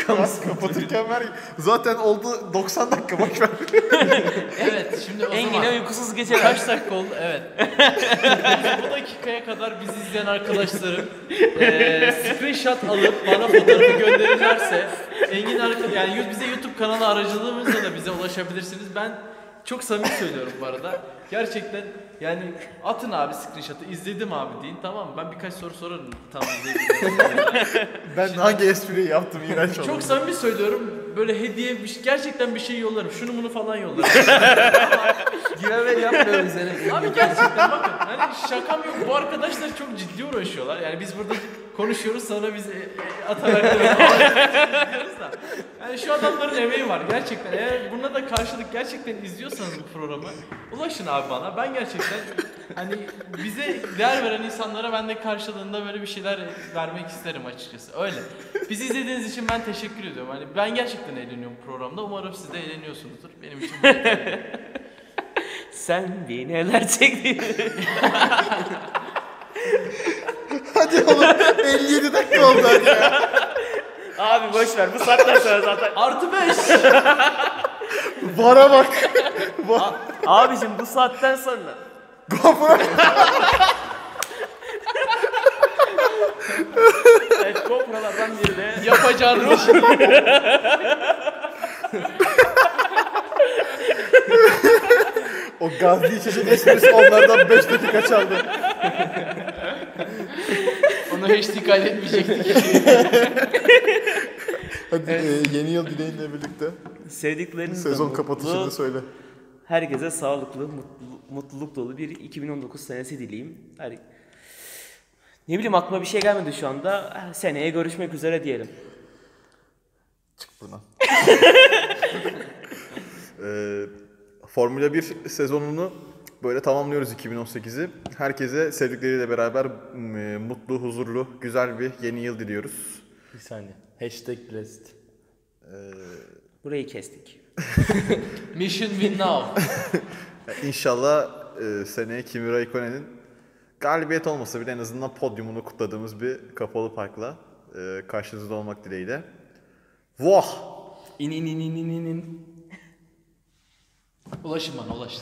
Speaker 1: Ver, kapatırken ver. Zaten oldu 90 dakika boş ver.
Speaker 3: evet şimdi o zaman.
Speaker 5: Engin'e uykusuz geceler.
Speaker 3: Kaç dakika oldu? Evet. Bu dakikaya kadar bizi izleyen arkadaşlarım eee screenshot alıp bana fotoğrafı gönderirlerse Engin arka, yani yu- bize YouTube kanalı aracılığımızla da bize ulaşabilirsiniz. Ben çok samimi söylüyorum bu arada. Gerçekten yani atın abi screenshot'ı izledim abi deyin tamam mı? Ben birkaç soru sorarım tam izledim.
Speaker 1: Ben hangi espriyi yaptım iğrenç oldu.
Speaker 3: Çok samimi söylüyorum. Böyle hediye bir şey- gerçekten bir şey yollarım. Şunu bunu falan yollarım.
Speaker 4: Giveaway yapmıyoruz yani.
Speaker 3: Abi gerçekten bakın hani şakam yok bu arkadaşlar çok ciddi uğraşıyorlar. Yani biz burada konuşuyoruz sonra biz e, e, atarak böyle diyoruz da. Yani şu adamların emeği var gerçekten. Eğer buna da karşılık gerçekten izliyorsanız bu programı ulaşın abi bana. Ben gerçekten hani bize değer veren insanlara ben de karşılığında böyle bir şeyler vermek isterim açıkçası. Öyle. Bizi izlediğiniz için ben teşekkür ediyorum. Hani ben gerçekten eğleniyorum programda. Umarım siz de eğleniyorsunuzdur. Benim için bu yeterli.
Speaker 5: Sen bir neler çektin.
Speaker 3: <laughs>
Speaker 1: Hadi oğlum <laughs> 57 dakika oldu hadi ya.
Speaker 5: Abi boş ver bu saatten sonra zaten.
Speaker 3: Artı 5.
Speaker 1: Vara bak. Var.
Speaker 5: Abicim bu saatten sonra.
Speaker 1: GoPro.
Speaker 5: Evet GoPro'lardan biri de
Speaker 3: Yapacağın ruh.
Speaker 1: O gazlı içecek esprisi onlardan 5 dakika çaldı.
Speaker 3: Onu HD kaydetmeyecektik.
Speaker 1: Hadi e, yeni yıl dileğinle birlikte
Speaker 5: sevdiklerinizle
Speaker 1: sezon
Speaker 5: mutlu,
Speaker 1: kapatışını söyle.
Speaker 5: Herkese sağlıklı, mutlu, mutluluk dolu bir 2019 senesi dileyim. Her... Ne bileyim aklıma bir şey gelmedi şu anda. Eh, Seneye görüşmek üzere diyelim.
Speaker 1: Çık buradan. <laughs> Ee, Formula 1 sezonunu böyle tamamlıyoruz 2018'i. Herkese sevdikleriyle beraber m, mutlu, huzurlu, güzel bir yeni yıl diliyoruz.
Speaker 2: Bir saniye. Hashtag blessed.
Speaker 5: Burayı kestik.
Speaker 3: Mission win now.
Speaker 1: İnşallah e, seneye Kimi Raikkonen'in galibiyet olmasa bile en azından podyumunu kutladığımız bir kapalı parkla e, karşınızda olmak dileğiyle. Vah!
Speaker 5: İn in in in in in.
Speaker 3: Ulaşın bana ulaşın.